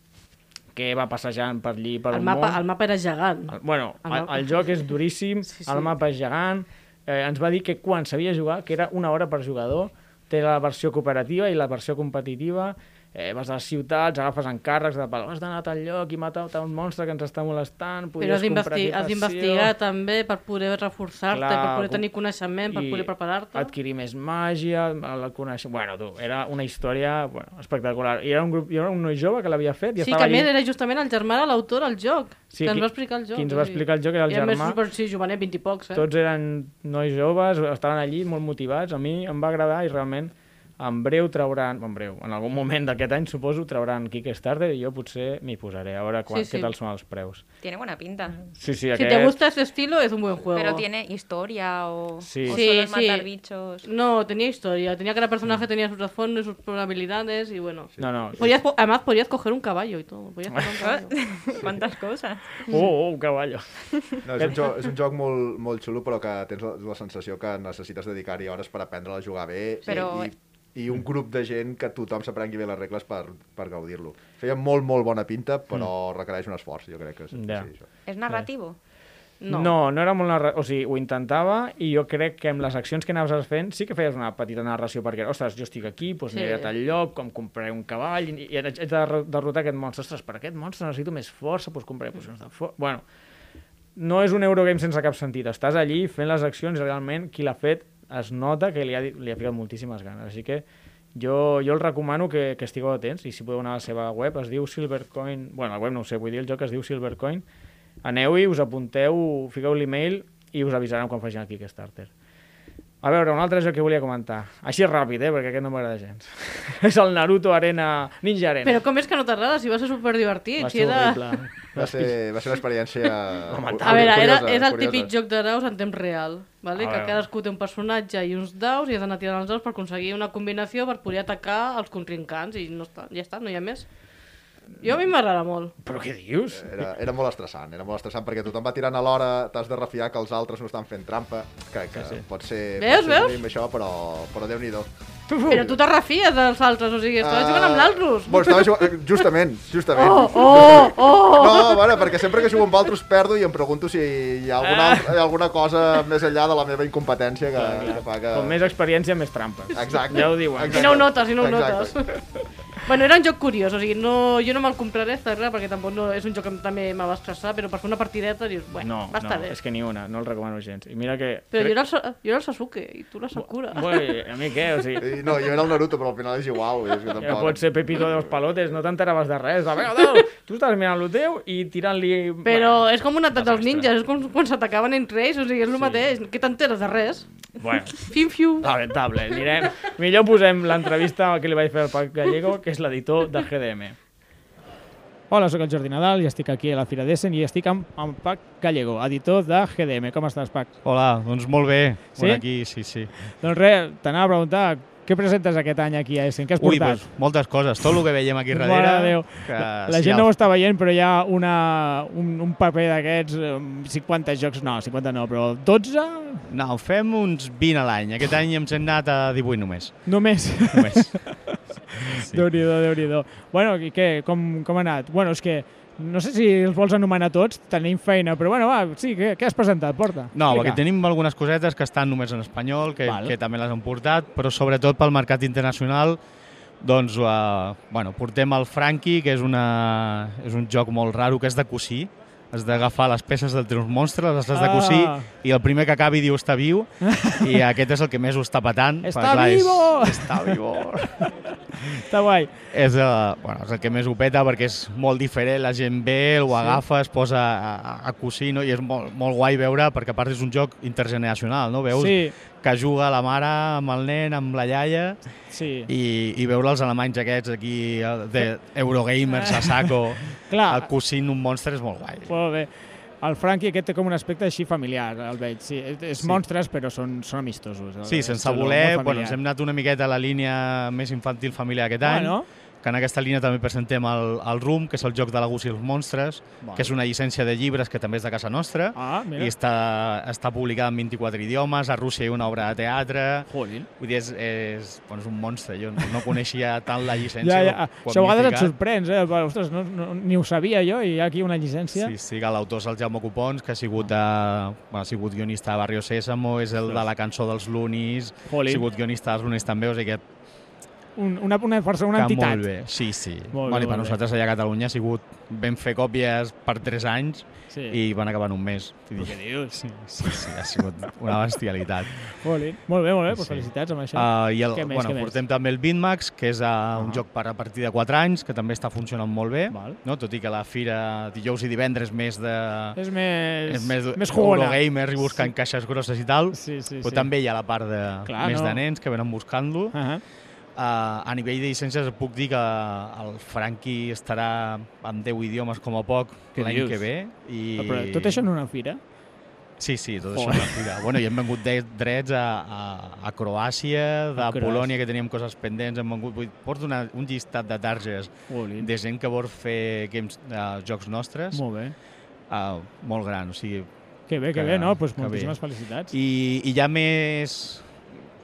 A: que va passejant per allí, per
B: El
A: un
B: mapa,
A: món.
B: el mapa era gegant.
A: El- Bueno,
B: El
A: el,
B: mapa.
A: el joc és duríssim,
B: Sí,
A: sí,
B: sí.
A: sí. el mapa és gegant. Eh, ens va dir que quan sabia jugar, que era una hora per jugador, té la versió cooperativa i la versió competitiva, eh, vas a les ciutats, agafes encàrrecs de pal, has d'anar a tal lloc i matar tal monstre que ens està molestant,
B: Però
A: podries
B: has d'investi-
A: comprar
B: has d'investigar
A: equitació,
B: també per poder reforçar-te,
A: Clar,
B: per poder
A: com-
B: tenir coneixement, per
A: i
B: poder preparar-te.
A: Adquirir més màgia, la conèixer... Bueno, tu, era una història bueno, espectacular. I era un, grup, hi era un noi jove que l'havia fet i
B: Sí, que
A: estava
B: a més
A: allí...
B: era justament el germà de l'autor del joc,
A: Sí,
B: que ens
A: qui-
B: va explicar el joc.
A: qui ens va explicar el joc era el
B: I a més,
A: germà.
B: super, sí, jovenet, 20 i pocs, eh?
A: Tots eren nois joves, estaven allí molt motivats. A mi em va agradar i realment en breu trauran, en breu, en algun moment d'aquest any suposo trauran Kickstarter i jo potser m'hi posaré a veure quan,
B: Sí, sí.
A: què tal són els preus.
E: Tiene buena pinta.
A: Sí, sí,
B: Si
A: aquest...
B: te gusta este estilo, es un buen juego.
E: Pero tiene historia o,
A: Sí.
E: o
B: Sí,
E: solo es
B: sí.
E: matar bichos.
B: No, tenía historia. Tenía cada personaje, tenía sus trasfondo y sus probabilidades y bueno.
A: No, no.
B: Podías po- además podías coger un caballo y todo. Podías coger
E: <laughs>
B: un caballo.
E: ¿Cuántas cosas?
A: Oh, oh, un caballo.
C: No, és, un joc, és un joc molt, molt xulo, però que tens la, la sensació que necessites dedicar-hi hores per aprendre a jugar bé
E: Però-
C: i, i, i un grup de gent que tothom s'aprengui bé les regles per, per gaudir-lo. Feia molt, molt bona pinta, però mm. requereix un esforç, jo crec que sí.
A: Ja.
C: sí això.
E: ¿Es narrativo?
B: No.
A: no, no era molt narra... O sigui, ho intentava i jo crec que amb les accions que anaves fent sí que feies una petita narració perquè, ostres, jo estic aquí, doncs
B: Sí.
A: sí. aniré a tal lloc, com compraré un cavall i, i haig haig de derro- derrotar aquest monstre. Ostres, per aquest monstre necessito més força, doncs compraré pocions de força... Bueno, no és un Eurogame sense cap sentit. Estàs allí fent les accions i realment qui l'ha fet es nota que li ha, li ha ficat moltíssimes ganes. Així que jo, jo el recomano que, que estigueu atents i si podeu anar a la seva web, es diu Silvercoin... bueno, la web no ho sé, vull dir, el joc es diu Silvercoin. Aneu-hi, us apunteu, fiqueu l'email i us avisaran quan facin el Kickstarter. A veure, un altre joc que volia comentar. Així ràpid, eh, perquè aquest no m'agrada gens. <laughs> és el Naruto Arena... Ninja Arena.
B: Pero comes que no tardadas si vas a súper divertido.
A: Va ser horrible.
C: Va ser, va ser eh, una experiència...
B: <laughs>
A: Lamentable.
B: A veure, era,
C: curiosa,
B: era el
C: curiosa.
B: típic joc de daus en temps real, vale?
A: A
B: que
A: veure.
B: cadascú té un personatge i uns daus i has d'anar tirant els daus per aconseguir una combinació per poder atacar els contrincants i no està, ja està, no hi ha més. Jo a mi m'agrada molt.
A: Però què dius?
C: Era, era molt estressant, era molt estressant perquè tothom va tirant a l'hora, t'has de refiar que els altres no estan fent trampa, que, que sí, sí. pot ser...
B: Veus,
C: pot ser
B: veus?
C: mínim Això, però, però Déu-n'hi-do.
B: Però tu te refies dels altres, o sigui, estaves jugant amb l'Alrus.
C: Ah. Bueno,
B: <laughs>
C: estava jugant... eh, Justament, justament.
B: Oh, oh, oh!
C: <laughs> No, bueno, perquè sempre que jugo amb altres perdo i em pregunto si hi ha
B: Ah.
C: alguna, altra, hi ha alguna cosa més enllà de la meva incompetència que, que fa que...
A: Com més experiència, més <laughs> trampes.
C: Exacte.
A: Ja ho diuen.
B: Si no ho notes, si no ho notes. <laughs>
C: Exacte.
B: bueno, era un joc curiós, o sigui, no, jo no me'l compraré, està clar, perquè tampoc no, és un joc que també me va estressar, però per fer una partideta dius, bueno,
A: no,
B: va estar
A: no,
B: bé.
A: és que ni una, no el recomano gens. I mira que...
B: Però jo era, el, Sa- jo era el Sasuke i tu la Sakura.
A: Bueno, a mi què? O sigui,
C: I No, jo era el Naruto, però al final és igual. És que
A: ja
C: tampoc...
A: pot ser Pepito de los Palotes, no t'enteraves de res. A veure, Dau, tu estàs mirant el teu i tirant-li...
B: Però és com un atac dels
A: desastre.
B: ninjas, és com quan s'atacaven entre ells, o sigui, és el mateix, que t'enteres de res.
A: Bueno,
B: Fiu, fiu.
A: lamentable. Anirem... Millor posem l'entrevista que li vaig fer al Pac Gallego, que és l'editor de GDM. Hola, sóc el Jordi Nadal i estic aquí a la Fira d'Essen i estic amb, amb Pac Gallego, editor de GDM. Com estàs, Pac?
J: Hola, doncs molt bé.
A: Sí?
J: Bueno, aquí, sí, sí.
A: Doncs res, t'anava a preguntar què presentes aquest any aquí a Essen? Què has
J: Ui,
A: portat?
J: doncs, moltes coses. Tot el que veiem aquí
A: Mare
J: darrere...
A: de Déu.
J: Que,
A: la la
J: sí,
A: gent
J: el-
A: no ho està veient, però hi ha una, un, un paper d'aquests, eh, 50 jocs, no, 50 no, però 12
J: No, en fem uns 20 a l'any. Aquest any ens hem anat a 18 només.
A: només. <laughs>
J: només.
A: Sí. Déu-n'hi-do, déu Bueno, i què, com, com ha anat? Bueno, és que no sé si els vols anomenar tots, tenim feina, però bueno, va, sí, què, què has presentat? Porta.
J: No,
A: Vinga.
J: perquè tenim algunes cosetes que estan només en espanyol, que,
A: Val.
J: que també les han portat, però sobretot pel mercat internacional doncs, eh, bueno, portem el Frankie, que és, una, és un joc molt raro, que és de cosir. Has d'agafar les peces del teu monstre, les has de cosir,
A: Ah.
J: i el primer que acabi diu està
A: <laughs>
J: viu, i aquest és el que més ho està patant. perquè,
A: Està
J: és-
A: vivo! <laughs>
J: Està vivo!
A: Està guai.
J: és, eh, bueno, és el que més ho peta perquè és molt diferent, la gent ve, ho sí. agafa, es posa a, a, a cosir no? i és molt, molt guai veure perquè a part és un joc intergeneracional, no? veus
A: Sí.
J: que juga la mare amb el nen, amb la iaia
A: Sí. I...
J: i, i veure els alemanys aquests aquí eh, de Eurogamers a saco
A: <laughs> Clar.
J: a cosint un monstre és molt guai.
A: Molt bé. El Frankie aquest té com un aspecte així familiar, el veig. Sí, és, és sí. monstres, però són, són amistosos.
J: Sí, sense
A: Són
J: voler,
A: molt
J: bueno, ens
A: familiar.
J: hem anat una miqueta a la línia més infantil familiar aquest any,
A: Bueno.
J: que en aquesta línia també presentem el, el RUM, que és el joc de la Gus i els monstres,
A: Bueno.
J: que és una llicència de llibres que també és de casa nostra,
A: Ah, mira.
J: i està, està publicada en 24 idiomes, a Rússia hi ha una obra de teatre...
A: Jolín.
J: Vull dir, és, és, bueno, és un monstre, jo no
A: <laughs>
J: coneixia tant la llicència.
A: Ja, ja.
J: ho- ho
A: Això a
J: havia
A: vegades et
J: ficat.
A: sorprens, eh? Però, Ostres, no, no, ni ho sabia jo, i hi ha aquí una llicència.
J: Sí, sí, que l'autor és el Jaume Copons, que ha sigut, de, bueno, ha sigut guionista de Barrio Sésamo, és el de la cançó dels Lunis,
A: Jolín.
J: ha sigut guionista dels Lunis també, o sigui que
A: un, una, una persona, una
J: que
A: entitat.
J: Molt bé, sí,
A: Molt
J: sí.
A: bé,
J: Molt bueno, bé, I per
A: molt bé.
J: nosaltres allà a Catalunya ha sigut... Vam fer còpies per 3 anys
A: Sí.
J: sí. i van acabar en un mes. Vull dir,
A: Què dius?
J: Sí, sí, sí, ha sigut una bestialitat.
A: Jolín. Molt bé, molt bé, doncs felicitats amb això.
J: Uh, I el,
A: Què més,
J: bueno,
A: què més?
J: portem també el Bitmax, que és uh, un joc per a partir de 4 anys, que també està funcionant molt bé,
A: Val.
J: no? tot i que la fira dijous i divendres més de...
A: És més-
J: és més,
A: més jugona.
J: Eurogamers i buscant sí. caixes grosses i tal,
A: sí, sí,
J: però
A: sí.
J: també hi ha la part de,
A: Clar,
J: més
A: no.
J: de nens que venen buscant-lo. Uh
A: -huh.
J: uh, a nivell de llicències puc dir que el Franqui estarà en 10 idiomes com a poc
A: Què
J: l'any
A: dius? Ah,
J: que ve. I...
A: Però tot això en una fira?
J: Sí, sí, tot
A: Oh.
J: això és una fira. Bueno, i hem vengut de drets a, a, a Croàcia, de
A: A Croàcia.
J: Polònia, que teníem coses pendents, hem vengut... Vull, dir, porto una, un llistat de targes
A: Olin.
J: de gent que vol fer games, uh, jocs nostres.
A: Molt bé.
J: Uh, molt gran, o sigui...
A: Que bé, que bé, no? Doncs
J: que
A: moltíssimes felicitats.
J: I, I ja més...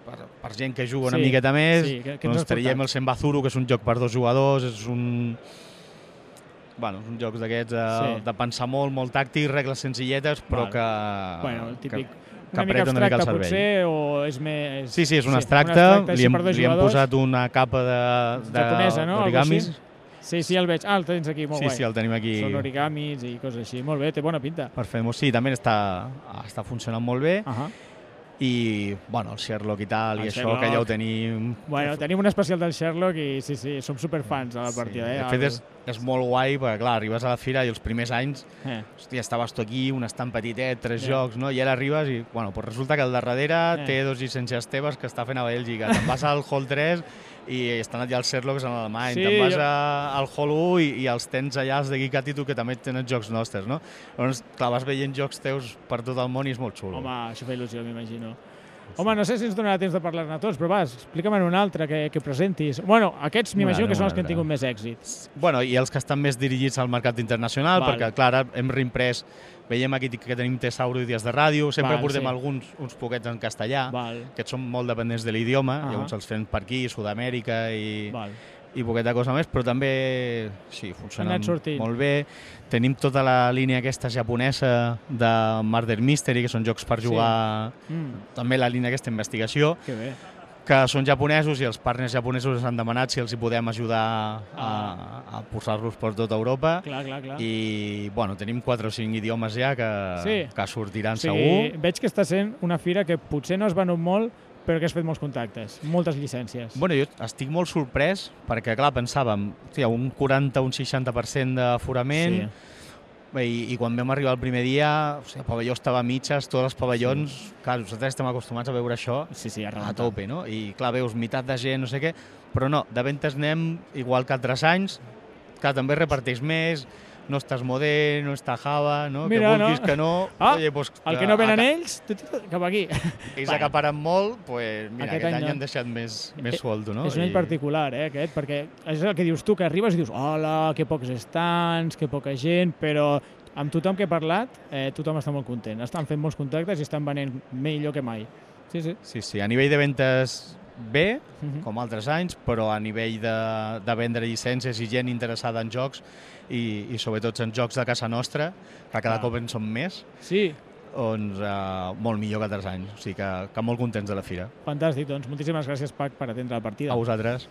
J: Per, per gent que juga una
A: Sí,
J: miqueta més,
A: sí, que- que ens
J: doncs
A: has
J: traiem
A: portat.
J: el Sembazuru, que és un joc per dos jugadors, és un... Bueno, és un joc d'aquests de,
A: Sí.
J: sí. de pensar molt, molt tàctic, regles senzilletes, però
A: Val.
J: que...
A: Bueno, el típic...
J: que
A: una mica
J: apreta una mica el
A: abstracte,
J: cervell.
A: potser, o és més...
J: Sí, sí, és un abstracte,
A: abstracte,
J: li
A: sí,
J: hem,
A: per dos
J: li hem
A: jugadors.
J: posat eh, una capa de, de
A: japonesa, no? Algo
J: d'origamis.
A: així? Sí, sí, el veig. Ah, el tens aquí, molt
J: Sí,
A: guai.
J: sí, el tenim aquí.
A: Són origamis i coses així. Molt bé, té bona pinta.
J: Per fer sí, també està, està funcionant molt bé.
A: Uh -huh.
J: I, bueno, el Sherlock i tal,
A: El
J: i això,
A: Sherlock.
J: que ja ho tenim...
A: Bueno, tenim un especial del Sherlock i sí, sí, som superfans de la partida. eh?
J: de fet,
A: El-
J: és, és molt guai, perquè, clar, arribes a la fira i els primers anys,
A: Eh.
J: hòstia, estaves tu aquí, un estant petitet, tres
A: Ja.
J: jocs, no? I ara arribes i, bueno, doncs resulta que el de darrere
A: Eh.
J: té dos llicències teves que està fent a Bèlgica. Te'n vas al Hall 3 i estan allà els Sherlocks en alemany,
A: Sí,
J: te'n vas
A: jo-
J: a, al Hall 1 i, i els tens allà els de Geekat i tu que també tenen jocs nostres, no? Llavors, clar, vas veient jocs teus per tot el món i és molt xulo.
A: Home, això fa il·lusió, m'imagino. Home, no sé si ens donarà temps de parlar-ne tots, però vas, explica'm en un altre que, que presentis. Bueno, aquests m'imagino
J: Vale,
A: que són els que
J: vale.
A: han tingut més èxits.
J: Bueno, i els que estan més dirigits al mercat internacional,
A: Val.
J: Val. perquè, clar, ara hem reimprès, veiem aquí que tenim Tesauro i Dies de Ràdio, sempre
A: Val,
J: Val, portem
A: sí.
J: sí. alguns uns poquets en castellà,
A: Val.
J: que són molt dependents de l'idioma,
A: Ahà.
J: uh -huh. llavors els fem per aquí, Sud-amèrica i...
A: Val.
J: i poqueta cosa més, però també sí, funciona
A: anat sortint.
J: molt bé. Tenim tota la línia aquesta japonesa de Murder Mystery, que són jocs per
A: Sí.
J: jugar...
A: Mm.
J: També la línia aquesta investigació
A: Que bé.
J: que són japonesos i els partners japonesos ens han demanat si els hi podem ajudar a, a posar-los per tota Europa.
A: Clar, clar, clar.
J: I, bueno, tenim 4 o 5 idiomes ja que,
A: Sí.
J: que sortiran
A: O sigui,
J: segur.
A: veig que està sent una fira que potser no es venut molt, però que has fet molts contactes, moltes llicències.
J: Bueno, jo estic molt sorprès perquè, clar, pensàvem, hòstia, un 40 un 60% d'aforament,
A: Sí.
J: I, i quan vam arribar el primer dia, o sigui, el pavelló estava a mitges, tots els pavellons, sí. clar, nosaltres estem acostumats a veure això
A: sí, sí,
J: a tope, no? I clar, veus meitat de gent, no sé què, però no, de ventes anem igual que altres anys, clar, també reparteix més, no estàs modé, no està java, no?
A: Mira,
J: que vulguis
A: no.
J: que no...
A: Ah,
J: oye, pues,
A: El que no venen
J: aca-
A: ells, tu, tu, tu, cap aquí.
J: Ells
A: Bueno.
J: acaparen molt, pues, mira,
A: Aquest
J: aquest,
A: any
J: any,
A: no.
J: han deixat més, més
A: Eh,
J: sueldo, no?
A: És un any particular, eh, aquest, perquè és el que dius tu, que arribes i dius, hola, que pocs estants, que poca gent, però amb tothom que he parlat, eh, tothom està molt content. Estan fent molts contactes i estan venent millor que mai. Sí, sí.
J: Sí, sí, a nivell de ventes bé,
A: Mhm.
J: com altres anys, però a nivell de, de vendre llicències i gent interessada en jocs, i, i sobretot en jocs de casa nostra, que cada
A: Ah.
J: cop en són més,
A: Sí,
J: doncs eh, molt millor que altres anys. O sigui que, que molt contents de la fira.
A: fantàstic. Doncs moltíssimes gràcies, Pac, per atendre la partida.
J: A vosaltres.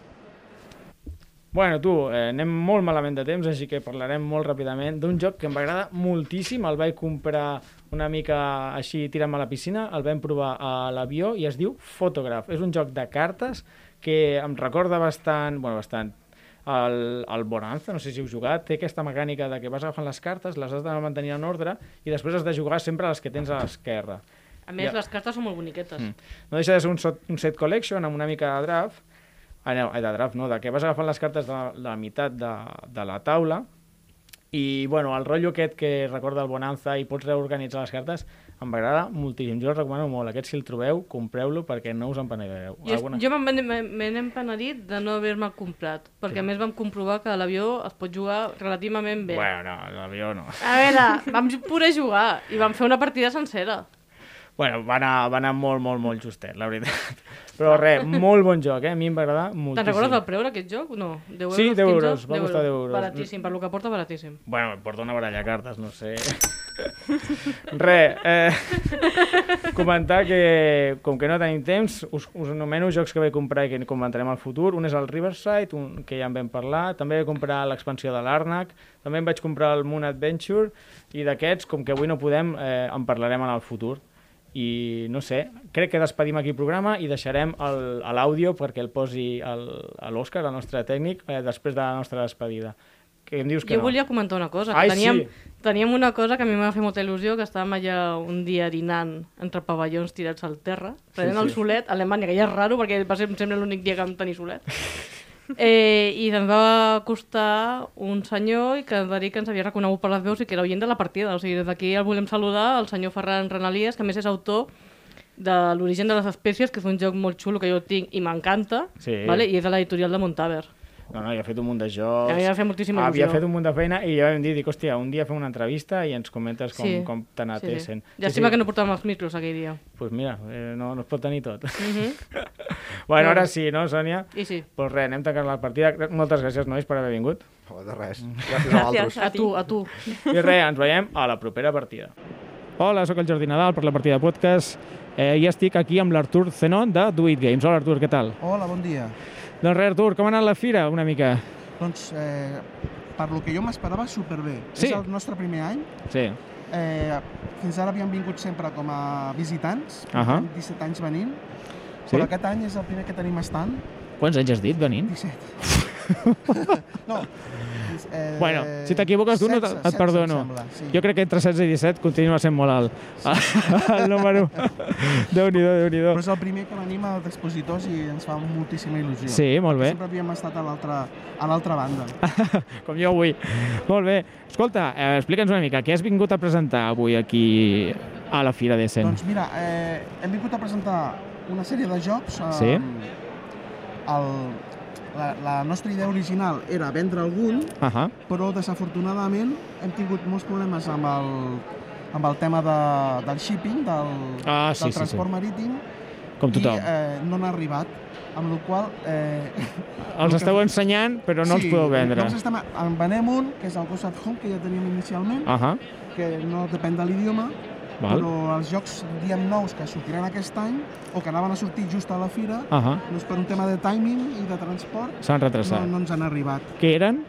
A: Bueno, tu, eh, anem molt malament de temps, així que parlarem molt ràpidament d'un joc que em va agradar moltíssim. El vaig comprar una mica així tirant-me a la piscina, el vam provar a l'avió i es diu Photograph. És un joc de cartes que em recorda bastant, bueno, bastant, el, el Bonanza, no sé si heu jugat, té aquesta mecànica de que vas agafant les cartes, les has de mantenir en ordre i després has de jugar sempre les que tens a l'esquerra.
B: A més,
A: Ja.
B: les cartes són molt boniquetes. Mm.
A: No deixa de ser un, set- un set collection amb una mica de draft, ah, no, ai, de draft no, de que vas agafant les cartes de la, la meitat de, de la taula i bueno, el rotllo aquest que recorda el Bonanza i pots reorganitzar les cartes em agrada moltíssim, jo el recomano molt aquest si el trobeu, compreu-lo perquè no us en penedireu
B: Jo, Alguna... jo me'n- me'n me'n he penedit de no haver-me comprat, perquè sí. a més vam comprovar que a l'avió es pot jugar relativament bé.
A: Bueno, no, l'avió no.
B: A veure, vam ju- poder jugar i vam fer una partida sencera.
A: Bueno, va anar, va anar molt, molt, molt justet, la
B: <laughs>
A: veritat. Però res, molt bon joc, eh? A mi em va agradar moltíssim.
B: Te'n recordes del preu d'aquest joc? No, 10 euros,
A: Sí, 10
B: 15?
A: euros, va costar 10 euros.
B: Baratíssim, per lo que porta, baratíssim.
A: Bueno, porta una baralla de cartes, no sé. Re, eh, comentar que, com que no tenim temps, us, us anomeno jocs que vaig comprar i que comentarem al futur. Un és el Riverside, un, que ja en vam parlar. També vaig comprar l'expansió de l'Arnac. També em vaig comprar el Moon Adventure. I d'aquests, com que avui no podem, eh, en parlarem en el futur. I no sé, crec que despedim aquí el programa i deixarem el- a l'àudio perquè el posi el- a l'Òscar, el nostre tècnic, eh, després de la nostra despedida. Que em dius que
B: Jo
A: no.
B: volia comentar una cosa.
A: Ai,
B: que teníem,
A: sí.
B: teníem una cosa que a mi m'ha fet molta il·lusió, que estàvem allà un dia dinant entre pavellons tirats al terra, prenent
E: sí.
B: el solet a Alemanya, que ja és raro perquè va ser, em sembla, l'únic dia que vam
A: <laughs>
B: tenir solet. Eh, I ens va acostar un senyor i que ens va dir que ens havia reconegut per les veus i que era oient de la partida. O sigui, des d'aquí el volem saludar, el senyor Ferran Renalies, que a més és autor de l'origen de les espècies, que és un joc molt xulo que jo tinc i m'encanta,
A: Sí.
B: vale? i és de l'editorial de Montaver.
A: No, no, ja ha fet un munt de jocs.
B: A mi m'ha fet moltíssima
A: Havia
B: il·lusió.
A: fet un munt de feina i ja vam dir, dic, hòstia, un dia fem una entrevista i ens comentes com,
B: Sí.
A: com te n'ha
B: Sí, sí.
A: sent.
B: Llàstima que no portàvem els micros aquell dia.
A: Pues mira, eh, no, no es pot tenir tot.
B: Mhm.
A: <laughs> bueno,
B: Bueno.
A: ara sí, no, Sònia?
B: I sí.
A: Pues res, anem tancant la partida. Moltes gràcies, nois, per haver vingut.
C: Oh, de res. Gràcies a vosaltres.
B: A tu, a tu.
A: I res, ens veiem a la propera partida. Hola, sóc el Jordi Nadal per la partida de podcast eh, i estic aquí amb l'Artur Zenon de Do It Games. Hola, Artur, què tal?
K: Hola, bon dia.
A: Doncs res, Artur, com ha anat la fira una mica?
K: Doncs, eh, per lo que jo m'esperava, superbé.
A: Sí.
K: És el nostre primer any.
A: Sí.
K: Eh, fins ara havíem vingut sempre com a visitants,
A: Ahà.
K: portem 17 anys venint,
A: Sí.
K: però aquest any és el primer que tenim estant.
A: Quants anys has dit venint?
K: 17. no, eh,
A: Bueno, si t'equivoques d'un, et,
K: 16,
A: et perdono.
K: 16 em sembla, sí.
A: Jo crec que entre 16 i 17 continua sent molt
K: <laughs>
A: alt. El número... Déu-n'hi-do, Déu-n'hi-do.
K: Però és el primer que venim als expositors i ens fa moltíssima il·lusió.
A: Sí, molt bé. Ah.
K: Sempre havíem estat a l'altra a l'altra banda.
A: Com jo avui. Molt bé. Escolta, eh, explica'ns una mica, què has vingut a presentar avui aquí a la Fira d'Essen?
K: Doncs mira, eh, hem vingut a presentar una sèrie de jocs. eh,
A: Sí.
K: El, la, la nostra idea original era vendre algun,
A: Ahà.
K: però desafortunadament hem tingut molts problemes amb el, amb el tema de, del shipping, del,
A: Ah, sí,
K: del
A: sí,
K: transport
A: sí.
K: marítim,
A: Com tothom.
K: i eh, no n'ha arribat, amb la qual eh,
A: <laughs> Els esteu ensenyant, però no
K: sí,
A: els podeu vendre.
K: Nosaltres estem, en venem un, que és el Ghost at Home, que ja teníem inicialment,
A: Ahà.
K: que no depèn de l'idioma,
A: Val.
K: però els jocs, diem, nous que sortiran aquest any, o que anaven a sortir just a la fira,
A: Ahà.
K: doncs per un tema de timing i de transport,
A: S'han retrasat.
K: No, no ens han arribat.
A: Què eren?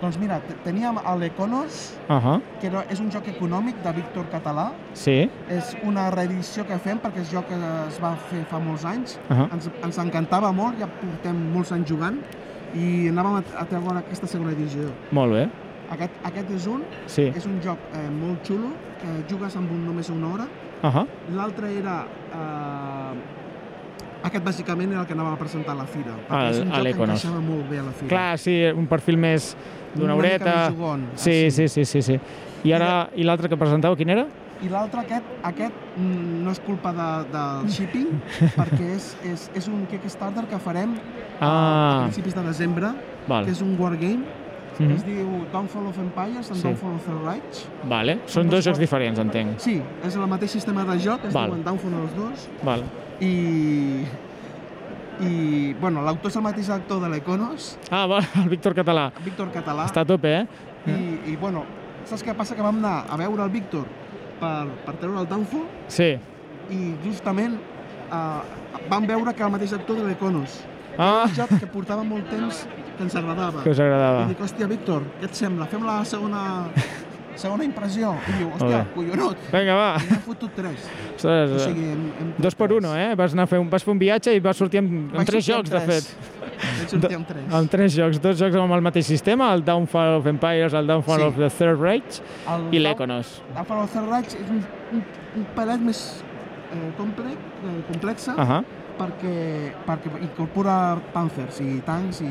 K: Doncs mira, te- teníem l'Econos,
A: Ahà.
K: que era, és un joc econòmic de Víctor Català,
A: Sí.
K: és una reedició que fem perquè és joc que es va fer fa molts anys.
A: Ahà.
K: ens, ens encantava molt, ja portem molts anys jugant i anàvem a, a treure aquesta segona edició.
A: Molt bé.
K: Aquest, aquest és un,
A: Sí.
K: és un joc eh, molt xulo, que jugues amb un només una hora.
A: Ahà.
K: L'altre era... Eh, aquest bàsicament era el que anàvem a presentar a la fira. perquè
A: Ah,
K: és un
A: a
K: joc que
A: l'Econos.
K: encaixava molt bé a la fira.
A: Clar, sí, un perfil més d'una
K: Una mica
A: horeta.
K: més ah, jugon,
A: Sí, sí, sí, sí, sí. I ara, i l'altre que presentava, quin era?
K: I l'altre, aquest, aquest mm, no és culpa de,
A: <laughs>
K: del shipping, perquè és, és, és un Kickstarter que farem a
A: Ah.
K: principis de desembre,
A: Val.
K: que és un wargame, mm
A: Mhm.
K: -hmm. es diu Downfall of Empires and
A: Sí.
K: sí. Downfall of the Reich.
A: Vale. Són dos jocs diferents, entenc.
K: Sí, és el mateix sistema de joc, es
A: Val.
K: diuen Downfall els dos,
A: Val.
K: i... I, bueno, l'autor és el mateix actor de l'Econos,
A: Ah, va, <laughs> el Víctor Català.
K: Víctor Català,
A: Està a tope, eh?
K: Ah. i, i, bueno, saps què passa? Que vam anar a veure el Víctor per, per treure el Downfall,
A: Sí.
K: i justament eh, vam veure que el mateix actor de l'Econos
A: ah.
K: un joc que portava molt temps que ens agradava.
A: Que us agradava.
K: I dic, hòstia, Víctor, què et sembla? Fem la segona, segona impressió. I diu, hòstia,
A: Molt bé.
K: collonot.
A: Vinga, va.
K: I n'he fotut tres.
A: <laughs> Ostres, eh,
K: o sigui, hem, hem
A: Dos per uno, eh? Vas, anar a fer un, vas fer un viatge i vas sortir amb, amb
K: Vaig
A: tres
K: sortir
A: jocs,
K: amb
A: de
K: tres.
A: fet.
K: Vaig sortir amb tres.
A: Amb tres jocs, dos jocs amb el mateix sistema, el Downfall of Empires, el Downfall
K: Sí.
A: of the Third Reich
K: El
A: i
K: Down-
A: l'Econos. <laughs>
K: La Fall of the Rage és un, un, un palet més eh, complex, eh, complexa,
A: Ahà.
K: perquè, perquè incorpora panzers i tancs i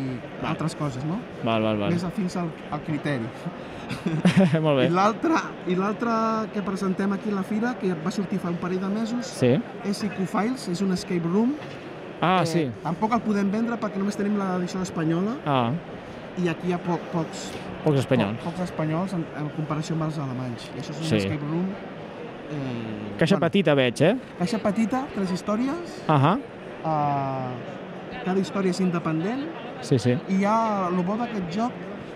K: altres coses, no?
A: Val, val, val.
K: Més afins al, al criteri.
A: Molt
K: I
A: bé.
K: l'altre i l'altre que presentem aquí a la fira, que va sortir fa un parell de mesos,
A: Sí.
K: és Icofiles, és un escape room.
A: Ah, sí.
K: Tampoc el podem vendre perquè només tenim l'edició espanyola
A: Ah,
K: i aquí hi ha po pocs,
A: pocs espanyols.
K: po pocs espanyols en, en comparació amb els alemanys. I això és un
A: Sí.
K: escape room... Eh,
A: Caixa petita veig, eh?
K: Caixa petita, tres històries,
A: Ahà.
K: eh, cada història és independent
A: Sí, sí.
K: i ja el bo d'aquest joc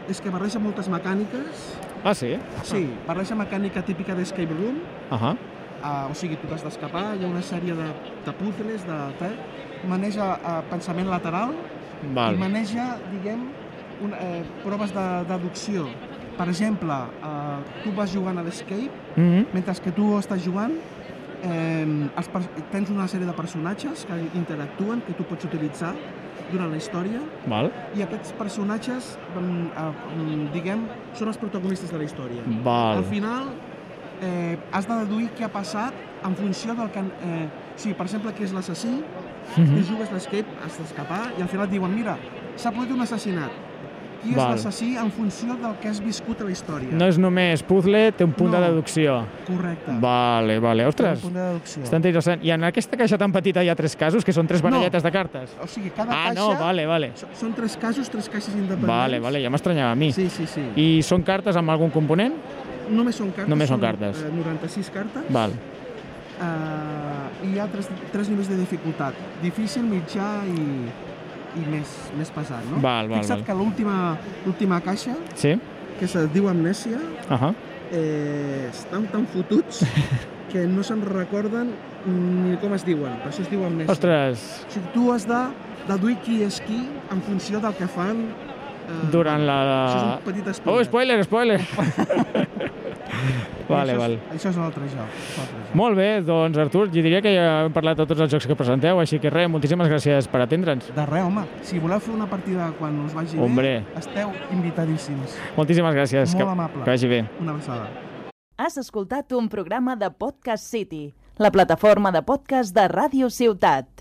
K: és que barreja moltes mecàniques
A: Ah, sí?
K: Sí, barreja mecànica típica d'escape room,
A: Ah,
K: uh, o sigui, tu t'has d'escapar, hi ha una sèrie de, de puzzles, de tal, maneja uh, pensament lateral
A: Val.
K: i maneja, diguem, una, eh, proves de deducció. Per exemple, eh, tu vas jugant a l'escape,
A: Mm.
D: Mhm.
K: mentre que tu estàs jugant, eh, els per- tens una sèrie de personatges que interactuen, que tu pots utilitzar durant la història,
A: val.
K: i aquests personatges, mm, eh, mm, diguem, són els protagonistes de la història.
A: Val.
K: Al final, eh, has de deduir què ha passat en funció del que... han- Eh, o sigui, per exemple, que és l'assassí,
D: Mhm.
K: tu jugues l'escape, has d'escapar, i al final et diuen, mira, s'ha produït un assassinat. Qui és
A: Val.
K: l'assassí en funció del que has viscut a la història.
A: No és només puzzle, té un punt de deducció.
K: Correcte.
A: Vale, vale. Ostres,
K: Té un punt de deducció.
A: està interessant. I en aquesta caixa tan petita hi ha tres casos, que són tres baralletes de cartes.
K: O sigui, cada
A: Ah,
K: caixa...
A: no, vale, vale.
K: so- Són tres casos, tres caixes independents.
A: Vale, vale, ja m'estranyava a mi.
K: Sí, sí, sí.
A: I són cartes amb algun component?
K: Només són cartes.
A: Només són cartes.
K: eh, 96 cartes.
A: Val.
K: Eh, hi ha tres, tres nivells de dificultat. Difícil, mitjà i, i més, més pesat, no?
A: Val, val,
K: Fixa't
A: val.
K: que l'última- l'última caixa,
A: Sí?
K: que se diu Amnèsia,
A: Ahà.
K: eh, estan tan
A: <laughs>
K: fotuts que no se'n recorden ni com es diuen. Per això es diu Amnèsia.
A: Ostres.
K: O sigui, tu has de deduir qui és qui en funció del que fan... Eh,
A: Durant la...
K: Això és un petit
A: Oh,
K: spoiler.
A: spoiler, spoiler!
K: I
A: <laughs> vale,
K: això és,
A: val.
K: Això és l'altre joc. l'altre joc.
A: Molt bé, doncs Artur, jo diria que ja hem parlat de tots els jocs que presenteu, així que res, moltíssimes gràcies per atendre'ns.
K: De res, home. Si voleu fer una partida quan us vagi
A: Hombre.
K: bé, esteu invitadíssims.
A: Moltíssimes gràcies.
K: Molt
A: que,
K: amable.
A: Que vagi bé.
K: Una abraçada.
L: Has escoltat un programa de Podcast City, la plataforma de podcast de Ràdio Ciutat.